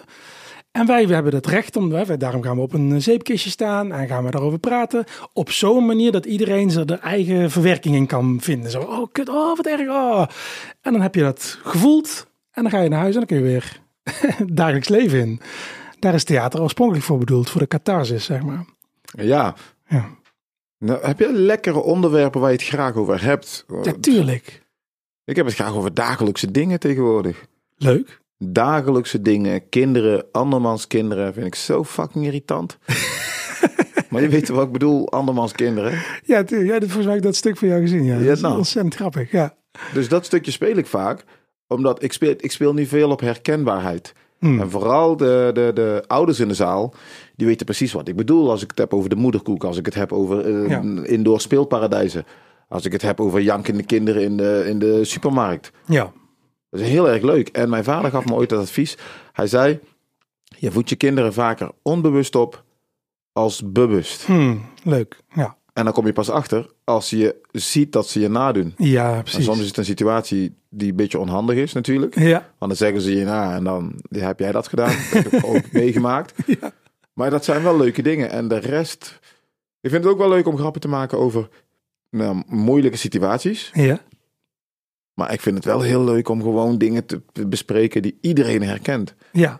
Speaker 4: En wij, we hebben het recht om, hè, wij- daarom gaan we op een eh, zeepkistje staan en gaan we daarover praten. Op zo'n manier dat iedereen zijn eigen verwerking in kan vinden. Zo, oh kut, oh wat erg, oh. En dan heb je dat gevoeld en dan ga je naar huis en dan kun je weer het dagelijks leven in. Daar is theater oorspronkelijk voor bedoeld, voor de catharsis, zeg maar.
Speaker 3: Ja.
Speaker 4: Ja.
Speaker 3: Nou, heb je lekkere onderwerpen waar je het graag over hebt?
Speaker 4: Ja, tuurlijk.
Speaker 3: Ik heb het graag over dagelijkse dingen tegenwoordig.
Speaker 4: Leuk.
Speaker 3: Dagelijkse dingen, kinderen, andermans kinderen vind ik zo fucking irritant. maar je weet wat ik bedoel, andermans kinderen.
Speaker 4: Ja, tuurlijk. Ja, dat- volgens mij heb ik dat stuk van jou gezien. Ja,
Speaker 3: Ja,
Speaker 4: dat is
Speaker 3: nou.
Speaker 4: ontzettend grappig. Ja.
Speaker 3: Dus dat stukje speel ik vaak, omdat ik speel, ik speel nu veel op herkenbaarheid.
Speaker 4: Hmm.
Speaker 3: En vooral de, de, de ouders in de zaal, die weten precies wat ik bedoel als ik het heb over de moederkoek, als ik het heb over eh,
Speaker 4: Ja.
Speaker 3: indoor speelparadijzen, als ik het heb over jankende kinderen in de, in de supermarkt.
Speaker 4: Ja.
Speaker 3: Dat is heel erg leuk. En mijn vader gaf me ooit dat advies. Hij zei, je voedt je kinderen vaker onbewust op als bewust.
Speaker 4: Hmm. Leuk. Ja.
Speaker 3: En dan kom je pas achter als je ziet dat ze je nadoen.
Speaker 4: Ja,
Speaker 3: En
Speaker 4: precies.
Speaker 3: soms is het een situatie die een beetje onhandig is natuurlijk.
Speaker 4: Ja.
Speaker 3: Want dan zeggen ze je na en dan ja, heb jij dat gedaan. Dat heb ik ook meegemaakt. Maar dat zijn wel leuke dingen. En de rest... Ik vind het ook wel leuk om grappen te maken over nou, moeilijke situaties.
Speaker 4: Ja.
Speaker 3: Maar ik vind het wel heel leuk om gewoon dingen te bespreken die iedereen herkent.
Speaker 4: Ja.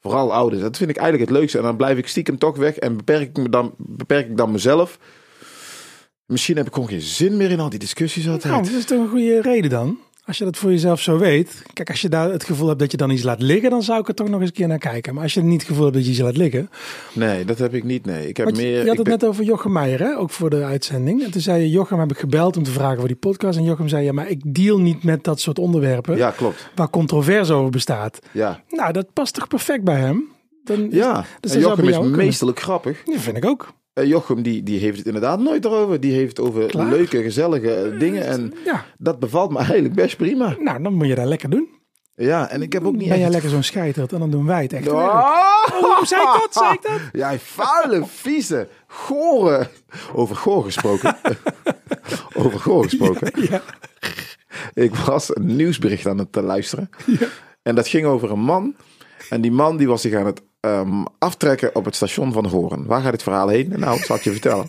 Speaker 3: Vooral ouders. Dat vind ik eigenlijk het leukste. En dan blijf ik stiekem toch weg en beperk ik, me dan, beperk ik dan mezelf. Misschien heb ik gewoon geen zin meer in al die discussies altijd.
Speaker 4: Nou, dat is toch een goede reden dan? Als je dat voor jezelf zo weet. Kijk, als je daar het gevoel hebt dat je dan iets laat liggen, dan zou ik er toch nog eens een keer naar kijken. Maar als je niet het gevoel hebt dat je iets laat liggen.
Speaker 3: Nee, dat heb ik niet. Nee, ik heb
Speaker 4: Want je,
Speaker 3: meer.
Speaker 4: je had
Speaker 3: ik
Speaker 4: het
Speaker 3: ben-
Speaker 4: net over Jochem Meijer, hè? ook voor de uitzending. En toen zei je, Jochem heb ik gebeld om te vragen voor die podcast. En Jochem zei, ja, maar ik deal niet met dat soort onderwerpen
Speaker 3: Ja, klopt.
Speaker 4: waar controverse over bestaat.
Speaker 3: Ja.
Speaker 4: Nou, dat past toch perfect bij hem? Dan,
Speaker 3: Ja,
Speaker 4: Dus dat
Speaker 3: en
Speaker 4: zou bij
Speaker 3: Jochem is
Speaker 4: jou ook kunnen.
Speaker 3: meestelijk grappig.
Speaker 4: Dat vind ik ook.
Speaker 3: En Jochem die, die heeft het inderdaad nooit erover. Die heeft het over
Speaker 4: Klaar.
Speaker 3: leuke, gezellige eh, dingen. En
Speaker 4: Ja,
Speaker 3: dat bevalt me eigenlijk best prima.
Speaker 4: nou, dan moet je dat lekker doen.
Speaker 3: Ja, en ik heb ook niet
Speaker 4: ben jij
Speaker 3: echt...
Speaker 4: lekker zo'n scheiterd en dan doen wij het echt. Oh.
Speaker 3: Oh!
Speaker 4: Waarom zei ik dat? Zei ik dat?
Speaker 3: Jij vuile, vieze, gore. Over goor gesproken. Over goor gesproken.
Speaker 4: Ja.
Speaker 3: Ik was een nieuwsbericht aan het eh, luisteren. En dat ging over een man. En die man die was zich aan het ehm, aftrekken op het station van Horen. Waar gaat dit verhaal heen? Nou, dat zal ik je vertellen.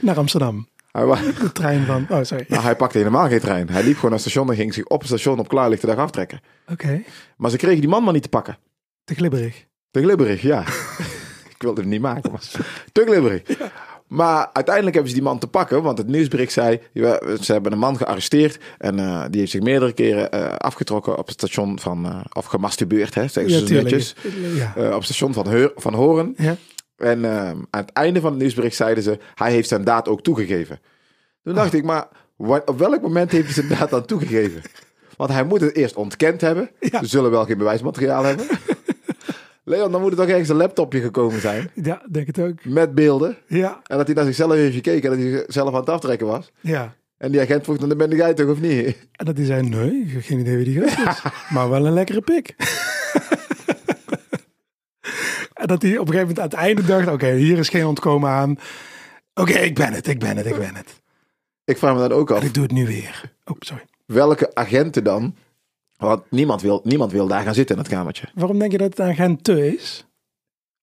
Speaker 4: Naar Amsterdam.
Speaker 3: Hij, wa-
Speaker 4: De trein van... Oh, sorry.
Speaker 3: nou, hij pakte helemaal geen trein. Hij liep gewoon naar het station en ging zich op het station op klaarlichte dag aftrekken.
Speaker 4: Oké.
Speaker 3: Maar ze kregen die man maar niet te pakken.
Speaker 4: Te glibberig.
Speaker 3: Te glibberig, ja. ik wilde hem niet maken, maar te glibberig. Maar uiteindelijk hebben ze die man te pakken, want het nieuwsbericht zei... ja, ze hebben een man gearresteerd en eh, die heeft zich meerdere keren eh, afgetrokken op het station van... eh, of gemasturbeerd, hè, zeggen ze zo Dus, eh, netjes.
Speaker 4: Ja.
Speaker 3: Eh, op het station van, Heur, van Horen.
Speaker 4: ja.
Speaker 3: En eh, aan het einde van het nieuwsbericht zeiden ze... hij heeft zijn daad ook toegegeven. Toen dacht ik, maar wa- op welk moment heeft hij zijn daad dan toegegeven? Want hij moet het eerst ontkend hebben.
Speaker 4: Ja.
Speaker 3: Ze zullen wel geen bewijsmateriaal hebben. Leon, dan moet er toch ergens een laptopje gekomen zijn...
Speaker 4: Ja, denk het ook.
Speaker 3: met beelden...
Speaker 4: Ja.
Speaker 3: en dat hij naar zichzelf heeft gekeken... en dat hij zelf aan het aftrekken was.
Speaker 4: Ja.
Speaker 3: En die agent vroeg, dan ben jij toch of niet?
Speaker 4: En dat hij zei, nee, ik heb geen idee wie die gast is. Maar wel een lekkere pik. en dat hij op een gegeven moment aan het einde dacht, oké, hier is geen ontkomen aan. Oké, ik ben het, ik ben het, ik ben het.
Speaker 3: Ik vraag me dan ook af...
Speaker 4: En ik doe het nu weer. Oh, sorry.
Speaker 3: welke agenten dan... want niemand wil, niemand wil daar gaan zitten in het kamertje.
Speaker 4: Waarom denk je dat het een agente is?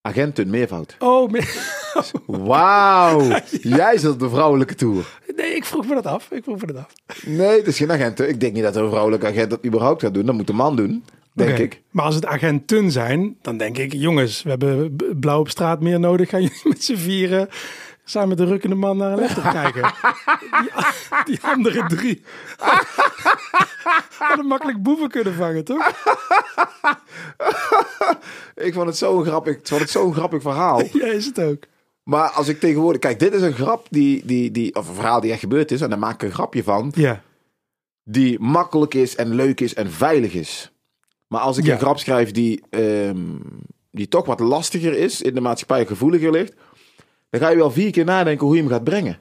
Speaker 3: Agenten meervoud.
Speaker 4: Oh, me-
Speaker 3: Wauw, jij zit op de vrouwelijke toer.
Speaker 4: nee, ik vroeg me dat af. Ik vroeg me dat af.
Speaker 3: Nee, het is geen agent. Ik denk niet dat een vrouwelijke agent dat überhaupt gaat doen. Dat moet de man doen, denk
Speaker 4: Oké.
Speaker 3: ik.
Speaker 4: Maar als het agenten zijn, dan denk ik, jongens, we hebben b- blauw op straat meer nodig. Gaan jullie met z'n vieren samen met de rukkende man naar een laptop kijken? Die, die andere drie. Hadden makkelijk boeven kunnen vangen, toch?
Speaker 3: Ik vond het zo'n grappig, ik vond het zo'n grappig verhaal.
Speaker 4: Ja, is het ook.
Speaker 3: Maar als ik tegenwoordig... Kijk, dit is een grap die, die, die... Of een verhaal die echt gebeurd is. En daar maak ik een grapje van.
Speaker 4: Ja,
Speaker 3: Die makkelijk is en leuk is en veilig is. Maar als ik
Speaker 4: Ja.
Speaker 3: een grap schrijf die, ehm, die toch wat lastiger is... In de maatschappij gevoeliger ligt... Dan ga je wel vier keer nadenken hoe je hem gaat brengen.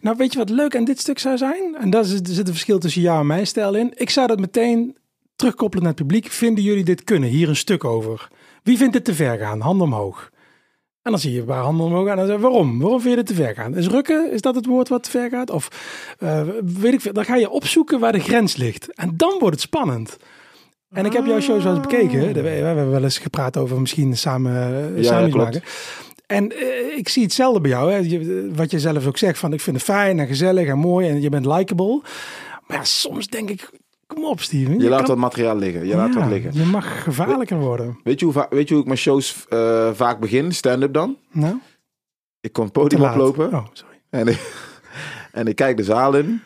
Speaker 4: Nou, weet je wat leuk aan dit stuk zou zijn? En daar zit, zit een verschil tussen jou en mijn stijl in. Ik zou dat meteen terugkoppelen naar het publiek. Vinden jullie dit kunnen? Hier een stuk over. Wie vindt dit te ver gaan? Hand omhoog. En dan zie je waar handen omhoog gaan. En dan zeg je, waarom? Waarom vind je dit te ver gaan? Is rukken, is dat het woord wat te ver gaat? Of eh, weet ik veel. Dan ga je opzoeken waar de grens ligt. En dan wordt het spannend. En ik heb jouw shows wel eens bekeken. hè. We hebben wel eens gepraat over misschien samen, eh,
Speaker 3: Ah. ja,
Speaker 4: samen iets
Speaker 3: klopt.
Speaker 4: maken. En eh, ik zie hetzelfde bij jou. Hè? Je- eh, wat je zelf ook zegt, van ik vind het fijn en gezellig en mooi en je bent likable. Maar ja, soms denk ik, kom op Steven.
Speaker 3: Je, laat
Speaker 4: kan-
Speaker 3: wat materiaal liggen. Je laat
Speaker 4: Ja,
Speaker 3: wat liggen.
Speaker 4: Je mag gevaarlijker worden.
Speaker 3: Weet je hoe, va- weet je hoe ik mijn shows eh, vaak begin? Stand-up dan?
Speaker 4: Nou,
Speaker 3: Ik kom het
Speaker 4: te
Speaker 3: podium
Speaker 4: laat.
Speaker 3: oplopen
Speaker 4: Oh, sorry.
Speaker 3: en, ik, en ik kijk de zaal in.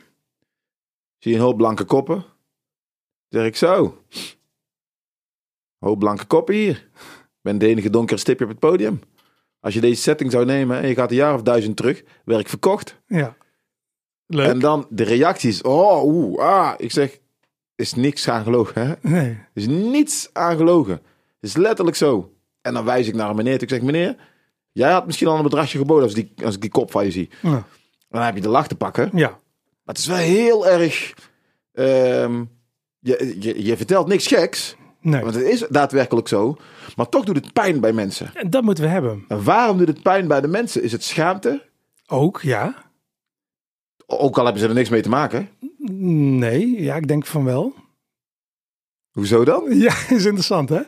Speaker 3: Zie een hoop blanke koppen. Zeg ik zo. Hoop blanke koppen hier. Ik ben de enige donkere stipje op het podium. Als je deze setting zou nemen en je gaat een jaar of duizend terug, werk verkocht.
Speaker 4: Ja. Leuk.
Speaker 3: En dan de reacties. Oh, oeh, ah. Ik zeg, is niks aan gelogen, hè?
Speaker 4: Nee.
Speaker 3: is niets aan gelogen. Het is letterlijk zo. En dan wijs ik naar een meneer. Ik zeg, meneer, jij had misschien al een bedragje geboden als, die, als ik die kop van je zie.
Speaker 4: Ja.
Speaker 3: Dan heb je de lach te pakken.
Speaker 4: Ja.
Speaker 3: Maar het is wel heel erg... ehm, je, je, je vertelt niks geks,
Speaker 4: Nee.
Speaker 3: want het is daadwerkelijk zo. Maar toch doet het pijn bij mensen.
Speaker 4: En dat moeten we hebben.
Speaker 3: En waarom doet het pijn bij de mensen? Is het schaamte?
Speaker 4: Ook, ja.
Speaker 3: Ook al hebben ze er niks mee te maken.
Speaker 4: Nee, ja, ik denk van wel.
Speaker 3: Hoezo dan?
Speaker 4: Ja, is interessant, hè?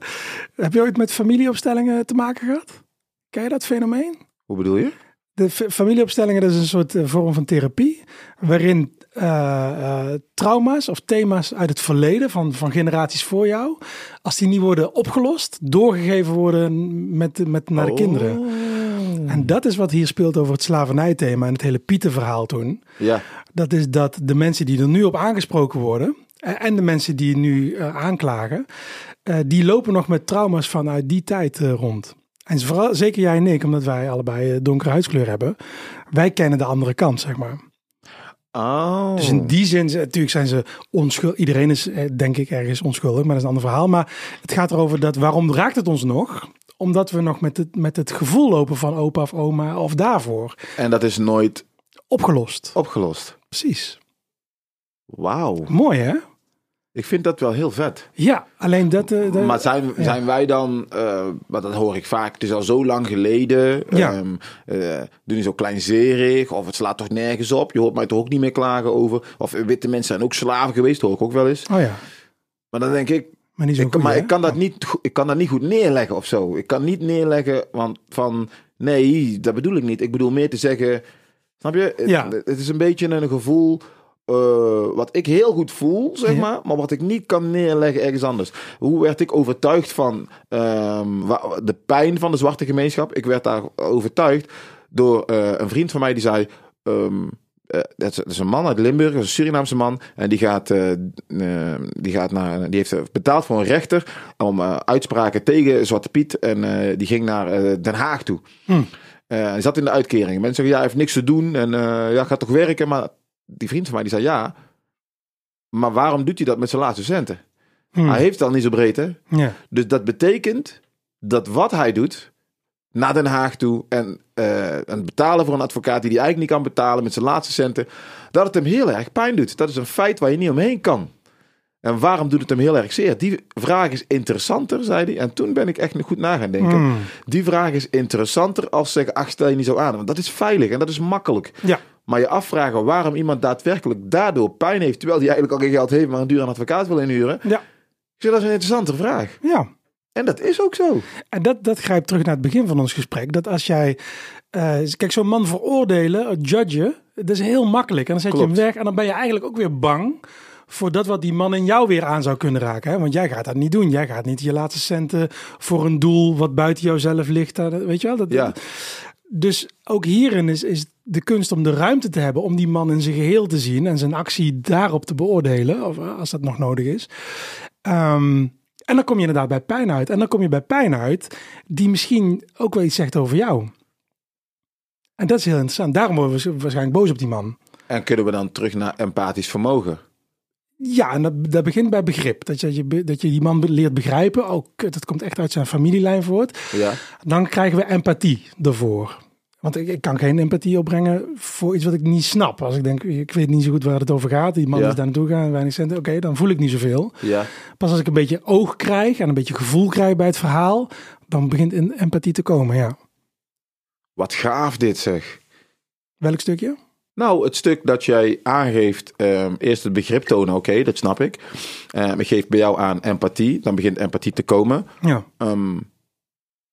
Speaker 4: Heb je ooit met familieopstellingen te maken gehad? Ken je dat fenomeen?
Speaker 3: Hoe bedoel je?
Speaker 4: De fa- familieopstellingen dat is een soort eh, vorm van therapie, waarin eh, eh, trauma's of thema's uit het verleden van, van generaties voor jou, als die niet worden opgelost, doorgegeven worden met, met, naar de kinderen. En dat is wat hier speelt over het slavernijthema en het hele Pieter-verhaal toen.
Speaker 3: Ja,
Speaker 4: Dat is dat de mensen die er nu op aangesproken worden eh, en de mensen die nu eh, aanklagen, eh, die lopen nog met trauma's vanuit die tijd eh, rond. En vooral, zeker jij en ik, omdat wij allebei eh, donkere huidskleur hebben, wij kennen de andere kant, zeg maar.
Speaker 3: Oh.
Speaker 4: Dus in die zin, ze- natuurlijk zijn ze onschuldig. Iedereen is, eh, denk ik, ergens onschuldig, maar dat is een ander verhaal. Maar het gaat erover dat waarom raakt het ons nog? Omdat we nog met het, met het gevoel lopen van opa of oma of daarvoor.
Speaker 3: En dat is nooit
Speaker 4: Opgelost.
Speaker 3: opgelost.
Speaker 4: Precies.
Speaker 3: Wauw.
Speaker 4: Mooi, hè?
Speaker 3: Ik vind dat wel heel vet.
Speaker 4: Ja, alleen dat... eh, dat-
Speaker 3: Maar zijn,
Speaker 4: ja.
Speaker 3: zijn wij dan, eh, maar dat hoor ik vaak, het is al zo lang geleden.
Speaker 4: Ja.
Speaker 3: ehm, eh, doen die zo kleinzerig, of het slaat toch nergens op. Je hoort mij toch ook niet meer klagen over. Of witte mensen zijn ook slaven geweest, hoor ik ook wel eens.
Speaker 4: Oh ja,
Speaker 3: Maar dan denk ik,
Speaker 4: maar niet zo
Speaker 3: ik, kan-
Speaker 4: goed.
Speaker 3: maar
Speaker 4: hè?
Speaker 3: ik, kan dat niet, go- ik kan dat niet goed neerleggen of zo. Ik kan niet neerleggen want van, nee, dat bedoel ik niet. Ik bedoel meer te zeggen, snap je? Het-
Speaker 4: Ja.
Speaker 3: Het, is een beetje een gevoel eh, wat ik heel goed voel, zeg
Speaker 4: Ja.
Speaker 3: maar. Maar wat ik niet kan neerleggen ergens anders. Hoe werd ik overtuigd van ehm, wa- de pijn van de zwarte gemeenschap? Ik werd daar overtuigd door eh, een vriend van mij die zei... ehm, eh, dat, is, dat is een man uit Limburg, dat is een Surinaamse man. En die, gaat, eh, eh, die, gaat naar, die heeft eh, betaald voor een rechter om eh, uitspraken tegen Zwarte Piet. En eh, die ging naar eh, Den Haag toe. Eh, hij zat in de uitkering. Mensen zeggen, ja, hij heeft niks te doen en eh, ja, gaat toch werken. Maar die vriend van mij, die zei, ja, maar waarom doet hij dat met zijn laatste centen?
Speaker 4: Hmm.
Speaker 3: Hij heeft het al niet zo breed, hè?
Speaker 4: Ja.
Speaker 3: Dus dat betekent dat wat hij doet, naar Den Haag toe en eh, en betalen voor een advocaat die hij eigenlijk niet kan betalen met zijn laatste centen, dat het hem heel erg pijn doet. Dat is een feit waar je niet omheen kan. En waarom doet het hem heel erg zeer? Die vraag is interessanter, zei hij. En toen ben ik echt goed na gaan denken.
Speaker 4: Hmm.
Speaker 3: Die vraag is interessanter als zeggen, ach, stel je niet zo aan. Want dat is veilig en dat is makkelijk.
Speaker 4: Ja.
Speaker 3: Maar je afvragen waarom iemand daadwerkelijk daardoor pijn heeft... terwijl hij eigenlijk al geen geld heeft, maar een duur aan advocaat wil inhuren.
Speaker 4: Ja.
Speaker 3: Ik zeg, dat is een interessante vraag.
Speaker 4: ja.
Speaker 3: En dat is ook zo.
Speaker 4: En dat, dat grijpt terug naar het begin van ons gesprek. Dat als jij... eh, kijk, zo'n man veroordelen, eh, judgen, dat is heel makkelijk. En dan zet je
Speaker 3: Klopt.
Speaker 4: hem weg en dan ben je eigenlijk ook weer bang... voor dat wat die man in jou weer aan zou kunnen raken. Hè? Want jij gaat dat niet doen. Jij gaat niet je laatste centen voor een doel... wat buiten jouzelf ligt. eh, Weet je wel? Dat,
Speaker 3: Ja.
Speaker 4: Dus ook hierin is, is de kunst om de ruimte te hebben om die man in zijn geheel te zien en zijn actie daarop te beoordelen, of eh, als dat nog nodig is. Ehm, en dan kom je inderdaad bij pijn uit. En dan kom je bij pijn uit die misschien ook wel iets zegt over jou. En dat is heel interessant. Daarom worden we waarschijnlijk boos op die man.
Speaker 3: En kunnen we dan terug naar empathisch vermogen?
Speaker 4: Ja, en dat, dat begint bij begrip. Dat je, dat je be- dat je die man be- leert begrijpen. Oh, kut, dat komt echt uit zijn familielijn voort.
Speaker 3: Ja.
Speaker 4: Dan krijgen we empathie ervoor. Want ik, ik kan geen empathie opbrengen voor iets wat ik niet snap. Als ik denk, ik weet niet zo goed waar het over gaat. Die man
Speaker 3: Ja.
Speaker 4: is daar naartoe gaan, weinig centen. Oké, dan voel ik niet zoveel.
Speaker 3: Ja.
Speaker 4: Pas als ik een beetje oog krijg en een beetje gevoel krijg bij het verhaal, dan begint in empathie te komen. Ja.
Speaker 3: Wat gaaf dit, zeg.
Speaker 4: Welk stukje?
Speaker 3: Nou, het stuk dat jij aangeeft, ehm, eerst het begrip tonen, oké, dat snap ik. Ehm ik geef bij jou aan empathie, dan begint empathie te komen.
Speaker 4: Ja.
Speaker 3: Ehm,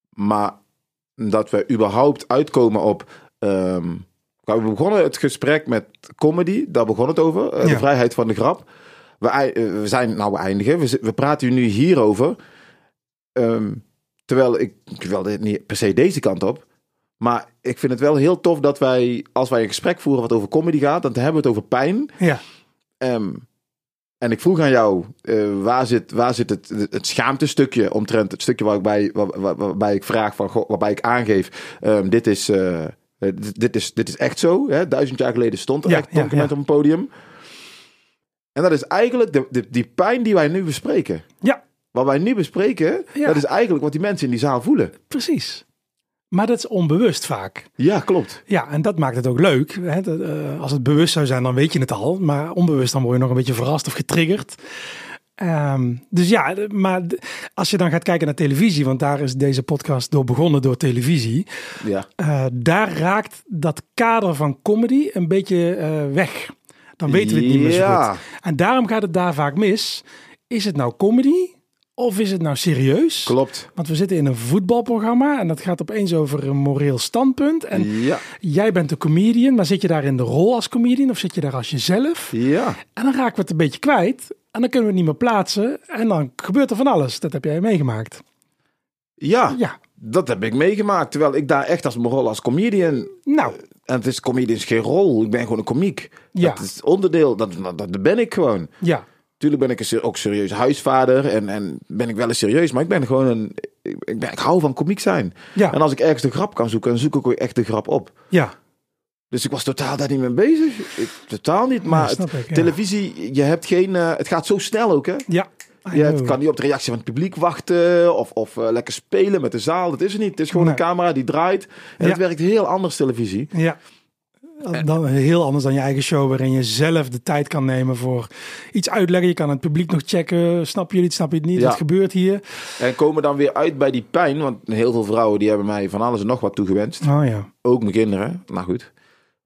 Speaker 3: maar dat we überhaupt uitkomen op. ehm, we begonnen het gesprek met comedy, daar begon het over, eh,
Speaker 4: Ja.
Speaker 3: de vrijheid van de grap. We, ei- eh, we zijn, nou, we eindigen, we, zi- we praten nu hierover. Ehm, terwijl ik, terwijl dit niet per se deze kant op. Maar ik vind het wel heel tof dat wij, als wij een gesprek voeren wat over comedy gaat, dan hebben we het over pijn.
Speaker 4: Ja.
Speaker 3: Ehm, en ik vroeg aan jou, eh, waar zit, waar zit het, het schaamtestukje omtrent het stukje waarbij, waar, waar- waarbij ik vraag van, goh, waarbij ik aangeef, ehm, dit is eh, eh, dit- dit, is, dit is echt zo. Hè? Duizend jaar geleden stond er
Speaker 4: Ja,
Speaker 3: echt
Speaker 4: ja,
Speaker 3: Tonkerment
Speaker 4: ja.
Speaker 3: op een podium. En dat is eigenlijk de, de- die pijn die wij nu bespreken.
Speaker 4: Ja,
Speaker 3: Wat wij nu bespreken,
Speaker 4: Ja.
Speaker 3: dat is eigenlijk wat die mensen in die zaal voelen.
Speaker 4: precies. Maar dat is onbewust vaak.
Speaker 3: Ja, klopt.
Speaker 4: Ja, en dat maakt het ook leuk. Hè? Dat, eh, als het bewust zou zijn, dan weet je het al. Maar onbewust, dan word je nog een beetje verrast of getriggerd. Ehm, dus ja, de- maar de- als je dan gaat kijken naar televisie, want daar is deze podcast door begonnen door televisie.
Speaker 3: Ja.
Speaker 4: eh, daar raakt dat kader van comedy een beetje eh, weg. Dan weten we het niet meer zo
Speaker 3: Ja.
Speaker 4: goed. En daarom gaat het daar vaak mis. Is het nou comedy of is het nou serieus?
Speaker 3: Klopt.
Speaker 4: Want we zitten in een voetbalprogramma en dat gaat opeens over een moreel standpunt. En
Speaker 3: Ja.
Speaker 4: jij bent de comedian, maar zit je daar in de rol als comedian of zit je daar als jezelf?
Speaker 3: Ja.
Speaker 4: En dan raken we het een beetje kwijt en dan kunnen we het niet meer plaatsen. En dan gebeurt er van alles. Dat heb jij meegemaakt.
Speaker 3: Ja.
Speaker 4: Ja,
Speaker 3: Dat heb ik meegemaakt. Terwijl ik daar echt als mijn rol als comedian.
Speaker 4: nou,
Speaker 3: En het is comedian is geen rol. Ik ben gewoon een komiek.
Speaker 4: Ja.
Speaker 3: Dat is onderdeel. Dat, dat, dat ben ik gewoon.
Speaker 4: ja,
Speaker 3: Tuurlijk ben ik een ser- ook serieus huisvader. En, en ben ik wel eens serieus. Maar ik ben gewoon een. Ik, ik ben, ik hou van komiek zijn.
Speaker 4: Ja.
Speaker 3: En als ik ergens de grap kan zoeken, dan zoek ik ook echt de grap op.
Speaker 4: ja,
Speaker 3: Dus ik was totaal daar niet mee bezig. Ik, totaal niet. Maar
Speaker 4: snap
Speaker 3: het-
Speaker 4: ik, ja.
Speaker 3: televisie, je hebt geen. eh, het gaat zo snel ook, hè?
Speaker 4: ja. I
Speaker 3: Je
Speaker 4: know.
Speaker 3: het kan niet op de reactie van het publiek wachten of, of eh, lekker spelen met de zaal. Dat is het niet. Het is gewoon
Speaker 4: Nee.
Speaker 3: een camera die draait. En
Speaker 4: Ja.
Speaker 3: het werkt heel anders televisie.
Speaker 4: Ja. Dan heel anders dan je eigen show, waarin je zelf de tijd kan nemen voor iets uitleggen. Je kan het publiek nog checken. Snap je het, snap je het niet?
Speaker 3: Ja.
Speaker 4: Wat gebeurt hier?
Speaker 3: En komen dan weer uit bij die pijn. Want heel veel vrouwen die hebben mij van alles en nog wat toegewenst.
Speaker 4: Oh ja.
Speaker 3: Ook mijn kinderen. Nou goed.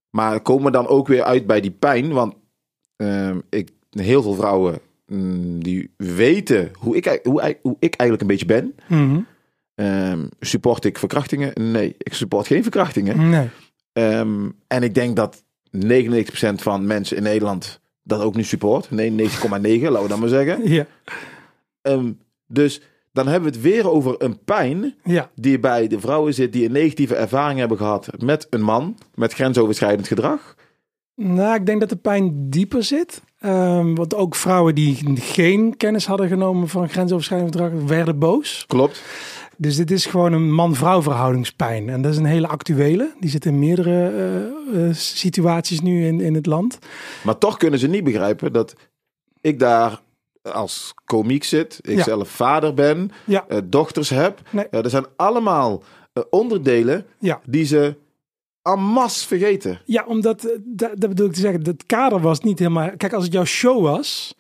Speaker 3: Maar komen dan ook weer uit bij die pijn. Want ehm, ik, heel veel vrouwen mm, die weten hoe ik, hoe, ik- hoe ik eigenlijk een beetje ben.
Speaker 4: Mhm.
Speaker 3: Ehm, support ik verkrachtingen? Nee, ik support geen verkrachtingen.
Speaker 4: Nee.
Speaker 3: Ehm, en ik denk dat 99% van mensen in Nederland dat ook niet support. Nee, 99,9, laten we dat maar zeggen.
Speaker 4: Ja.
Speaker 3: Ehm, dus dan hebben we het weer over een pijn
Speaker 4: Ja.
Speaker 3: die bij de vrouwen zit die een negatieve ervaring hebben gehad met een man met grensoverschrijdend gedrag.
Speaker 4: Nou, ik denk dat de pijn dieper zit. Ehm, want ook vrouwen die geen kennis hadden genomen van grensoverschrijdend gedrag werden boos.
Speaker 3: Klopt.
Speaker 4: Dus dit is gewoon een man-vrouw verhoudingspijn. En dat is een hele actuele. Die zit in meerdere eh, eh, situaties nu in, in het land.
Speaker 3: Maar toch kunnen ze niet begrijpen dat ik daar als komiek zit, ik
Speaker 4: Ja.
Speaker 3: zelf vader ben,
Speaker 4: Ja.
Speaker 3: eh, dochters heb.
Speaker 4: Nee.
Speaker 3: Eh, er zijn allemaal eh, onderdelen
Speaker 4: Ja.
Speaker 3: die ze en masse vergeten.
Speaker 4: Ja, omdat, eh, da- dat bedoel ik te zeggen, het kader was niet helemaal... Kijk, als het jouw show was,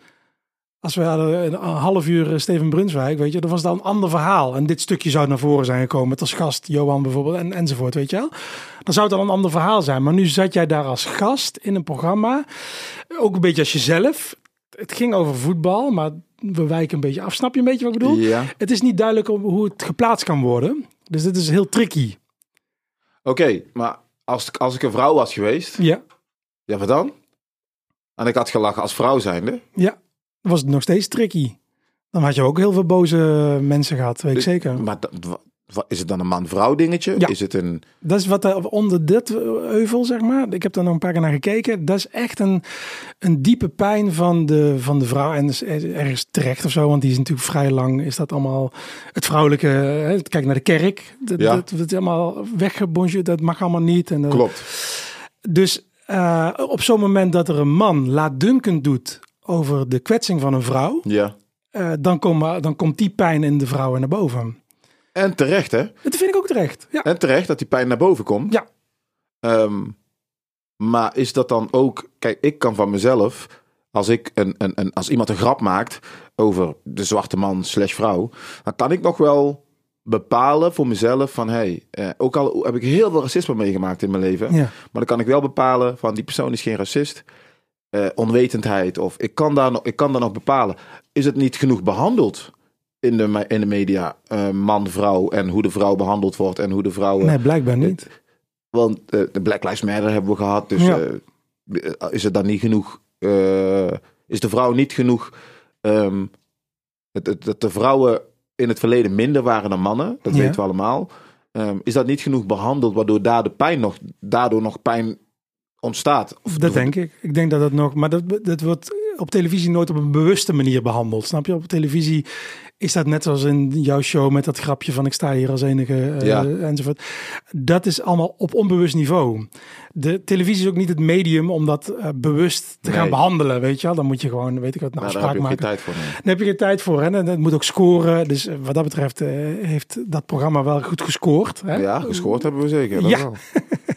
Speaker 4: als we hadden een een half uur eh, Steven Brunswijk, weet je, dan was dat een ander verhaal. En dit stukje zou naar voren zijn gekomen, met als gast Johan bijvoorbeeld en, enzovoort, weet je wel. Dan zou het dan een ander verhaal zijn. Maar nu zat jij daar als gast in een programma, ook een beetje als jezelf. Het ging over voetbal, maar we wijken een beetje af. Snap je een beetje wat ik bedoel?
Speaker 3: Ja.
Speaker 4: Het is niet duidelijk om- hoe het geplaatst kan worden. Dus dit is heel tricky.
Speaker 3: Oké, maar als, ik- als ik een vrouw was geweest,
Speaker 4: Ja,
Speaker 3: ja, wat dan? En ik had gelachen als vrouw zijnde.
Speaker 4: Ja, dan was het nog steeds tricky. Dan had je ook heel veel boze mensen gehad,
Speaker 3: Dus-
Speaker 4: weet ik zeker.
Speaker 3: Maar dat- wa- wa- is het dan een man-vrouw dingetje?
Speaker 4: Ja.
Speaker 3: Is het een...
Speaker 4: Dat is wat er onder dit eh, euvel, zeg maar. Ik heb daar nog een paar keer naar gekeken. Dat is echt een, een diepe pijn van de, van de vrouw. En dat is ergens terecht of zo, want die is natuurlijk vrij lang. Is dat allemaal het vrouwelijke. Hè? Kijk naar de kerk. Dat,
Speaker 3: Ja.
Speaker 4: dat, dat is allemaal weggebonjourd. Dat mag allemaal niet. En dat,
Speaker 3: Klopt.
Speaker 4: Dus eh, op zo'n moment dat er een man laatdunkend doet over de kwetsing van een vrouw.
Speaker 3: Ja.
Speaker 4: eh, dan, kom, dan komt die pijn in de vrouwen naar boven.
Speaker 3: En terecht, hè?
Speaker 4: Dat vind ik ook terecht. Ja,
Speaker 3: En terecht dat die pijn naar boven komt.
Speaker 4: ja.
Speaker 3: Ehm, maar is dat dan ook... Kijk, ik kan van mezelf... Als, ik een, een, een, als iemand een grap maakt over de zwarte man slash vrouw... dan kan ik nog wel bepalen voor mezelf van... Hey, eh, ook al heb ik heel veel racisme meegemaakt in mijn leven...
Speaker 4: ja.
Speaker 3: Maar dan kan ik wel bepalen van die persoon is geen racist. Eh, onwetendheid of ik kan, daar nog, ik kan daar nog bepalen. Is het niet genoeg behandeld in de, me- in de media? eh, man, vrouw en hoe de vrouw behandeld wordt en hoe de vrouwen...
Speaker 4: Nee, blijkbaar niet.
Speaker 3: Want eh, de Black Lives Matter hebben we gehad. Dus
Speaker 4: Ja.
Speaker 3: eh, is het dan niet genoeg... eh, is de vrouw niet genoeg... ehm, het- het- dat de vrouwen in het verleden minder waren dan mannen. Dat
Speaker 4: Ja.
Speaker 3: weten we allemaal. Ehm, is dat niet genoeg behandeld waardoor daar de pijn nog, daardoor nog pijn ontstaat? Of
Speaker 4: Dat denk ik. Ik denk dat dat nog. Maar dat, dat wordt op televisie nooit op een bewuste manier behandeld. Snap je? Op televisie is dat net zoals in jouw show met dat grapje van ik sta hier als enige eh,
Speaker 3: Ja.
Speaker 4: enzovoort. Dat is allemaal op onbewust niveau. De televisie is ook niet het medium om dat eh, bewust te
Speaker 3: Nee.
Speaker 4: gaan behandelen, weet je wel. Dan moet je gewoon, weet ik wat, een
Speaker 3: Nou, daar heb
Speaker 4: afspraak
Speaker 3: je ook geen
Speaker 4: maken.
Speaker 3: tijd voor. nee.
Speaker 4: Daar heb je geen tijd voor. Hè? En dat moet ook scoren. Dus eh, wat dat betreft eh, heeft dat programma wel goed gescoord. Hè?
Speaker 3: Ja, gescoord hebben we zeker. dat
Speaker 4: Ja.
Speaker 3: wel.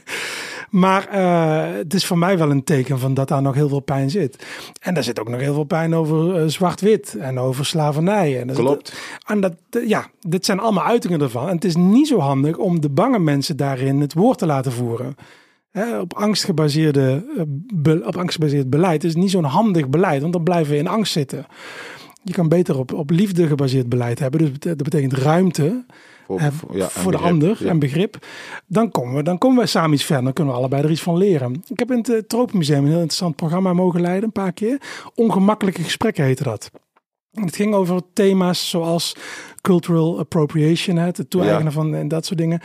Speaker 4: Maar eh, het is voor mij wel een teken van dat daar nog heel veel pijn zit. En daar zit ook nog heel veel pijn over eh, zwart-wit en over slavernij. En dat-
Speaker 3: Klopt.
Speaker 4: En dat, ja, dit zijn allemaal uitingen ervan. En het is niet zo handig om de bange mensen daarin het woord te laten voeren. Hè, op, angst gebaseerde, eh, be- op angst gebaseerd beleid is niet zo'n handig beleid, want dan blijven we in angst zitten. Je kan beter op, op liefde gebaseerd beleid hebben. Dus dat betekent ruimte
Speaker 3: Voor,
Speaker 4: hè,
Speaker 3: voor- ja, en
Speaker 4: voor de
Speaker 3: begrip.
Speaker 4: ander
Speaker 3: Ja.
Speaker 4: en begrip. Dan komen, we, dan komen we samen iets verder. Dan kunnen we allebei er iets van leren. Ik heb in het eh, Tropenmuseum een heel interessant programma mogen leiden, een paar keer. Ongemakkelijke gesprekken heette dat. En Het ging over thema's zoals cultural appropriation, hè, het toe-eigenen
Speaker 3: Ja.
Speaker 4: van en dat soort dingen.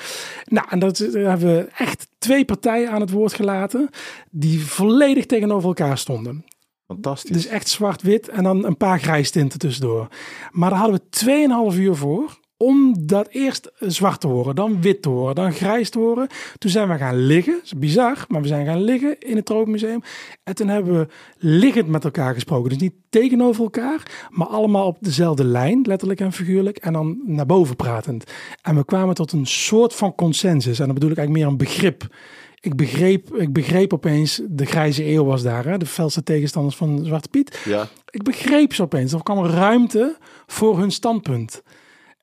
Speaker 4: Nou, en dat, daar hebben we echt twee partijen aan het woord gelaten die volledig tegenover elkaar stonden.
Speaker 3: Fantastisch.
Speaker 4: Dus echt zwart-wit en dan een paar grijstinten tussendoor. Maar daar hadden we 2,5 uur voor om dat eerst zwart te horen, dan wit te horen, dan grijs te horen. Toen zijn we gaan liggen, dat is bizar, maar we zijn gaan liggen in het Tropenmuseum. En toen hebben we liggend met elkaar gesproken. Dus niet tegenover elkaar, maar allemaal op dezelfde lijn, letterlijk en figuurlijk. En dan naar boven pratend. En we kwamen tot een soort van consensus. En dan bedoel ik eigenlijk meer een begrip. Ik begreep, ik begreep opeens, de grijze eeuw was daar, hè? de felste tegenstanders van Zwarte Piet.
Speaker 3: ja.
Speaker 4: Ik begreep ze opeens. Er kwam ruimte voor hun standpunt.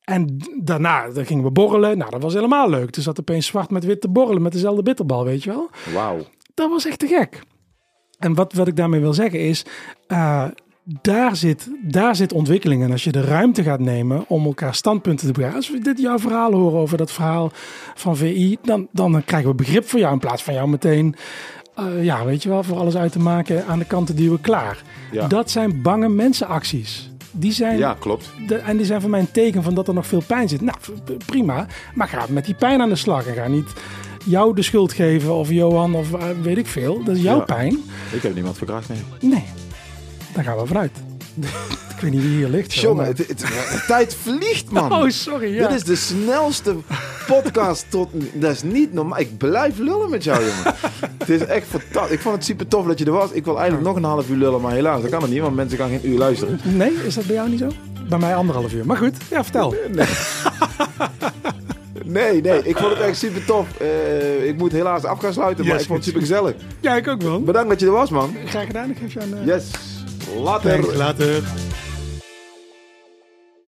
Speaker 4: En d- daarna dan gingen we borrelen. Nou, dat was helemaal leuk. Toen zat opeens zwart met wit te borrelen met dezelfde bitterbal, weet je wel.
Speaker 3: Wauw.
Speaker 4: Dat was echt te gek. En wat, wat ik daarmee wil zeggen is, eh, daar, zit, daar zit ontwikkeling. En als je de ruimte gaat nemen om elkaar standpunten te begrijpen. Als we dit jouw verhaal horen over dat verhaal van VI, dan, dan krijgen we begrip voor jou in plaats van jou meteen. eh, ja, weet je wel, voor alles uit te maken, aan de kant te duwen, klaar.
Speaker 3: Ja.
Speaker 4: Dat zijn bange mensenacties. Die zijn,
Speaker 3: Ja, klopt.
Speaker 4: de- en die zijn voor mij een teken van dat er nog veel pijn zit. Nou, p- prima. Maar ga met die pijn aan de slag. En ga niet jou de schuld geven of Johan of eh, weet ik veel. Dat is jouw
Speaker 3: Ja.
Speaker 4: pijn.
Speaker 3: Ik heb niemand verkracht, nee.
Speaker 4: Nee, daar gaan we vanuit. ik weet niet wie hier ligt. joh,
Speaker 3: Jongen,
Speaker 4: maar-
Speaker 3: het, het- de tijd vliegt, man.
Speaker 4: Oh, sorry. Ja.
Speaker 3: Dit is de snelste podcast tot... Dat is niet normaal. Ik blijf lullen met jou, jongen. het is echt fantastisch. Ik vond het super tof dat je er was. Ik wil eigenlijk nog een half uur lullen, maar helaas, dat kan het niet, want mensen gaan geen uur luisteren.
Speaker 4: Nee, is dat bij jou niet zo? Bij mij anderhalf uur. Maar goed, ja,
Speaker 3: Eh,
Speaker 4: vertel.
Speaker 3: Nee, nee, ik vond het echt super tof. Eh, ik moet helaas af gaan sluiten, maar
Speaker 4: Yes,
Speaker 3: ik vond het super gezellig.
Speaker 4: Ja, ik ook wel.
Speaker 3: Bedankt dat je er was, man.
Speaker 4: Graag gedaan. Ik geef jou een... eh,
Speaker 3: Yes. Later.
Speaker 4: Later.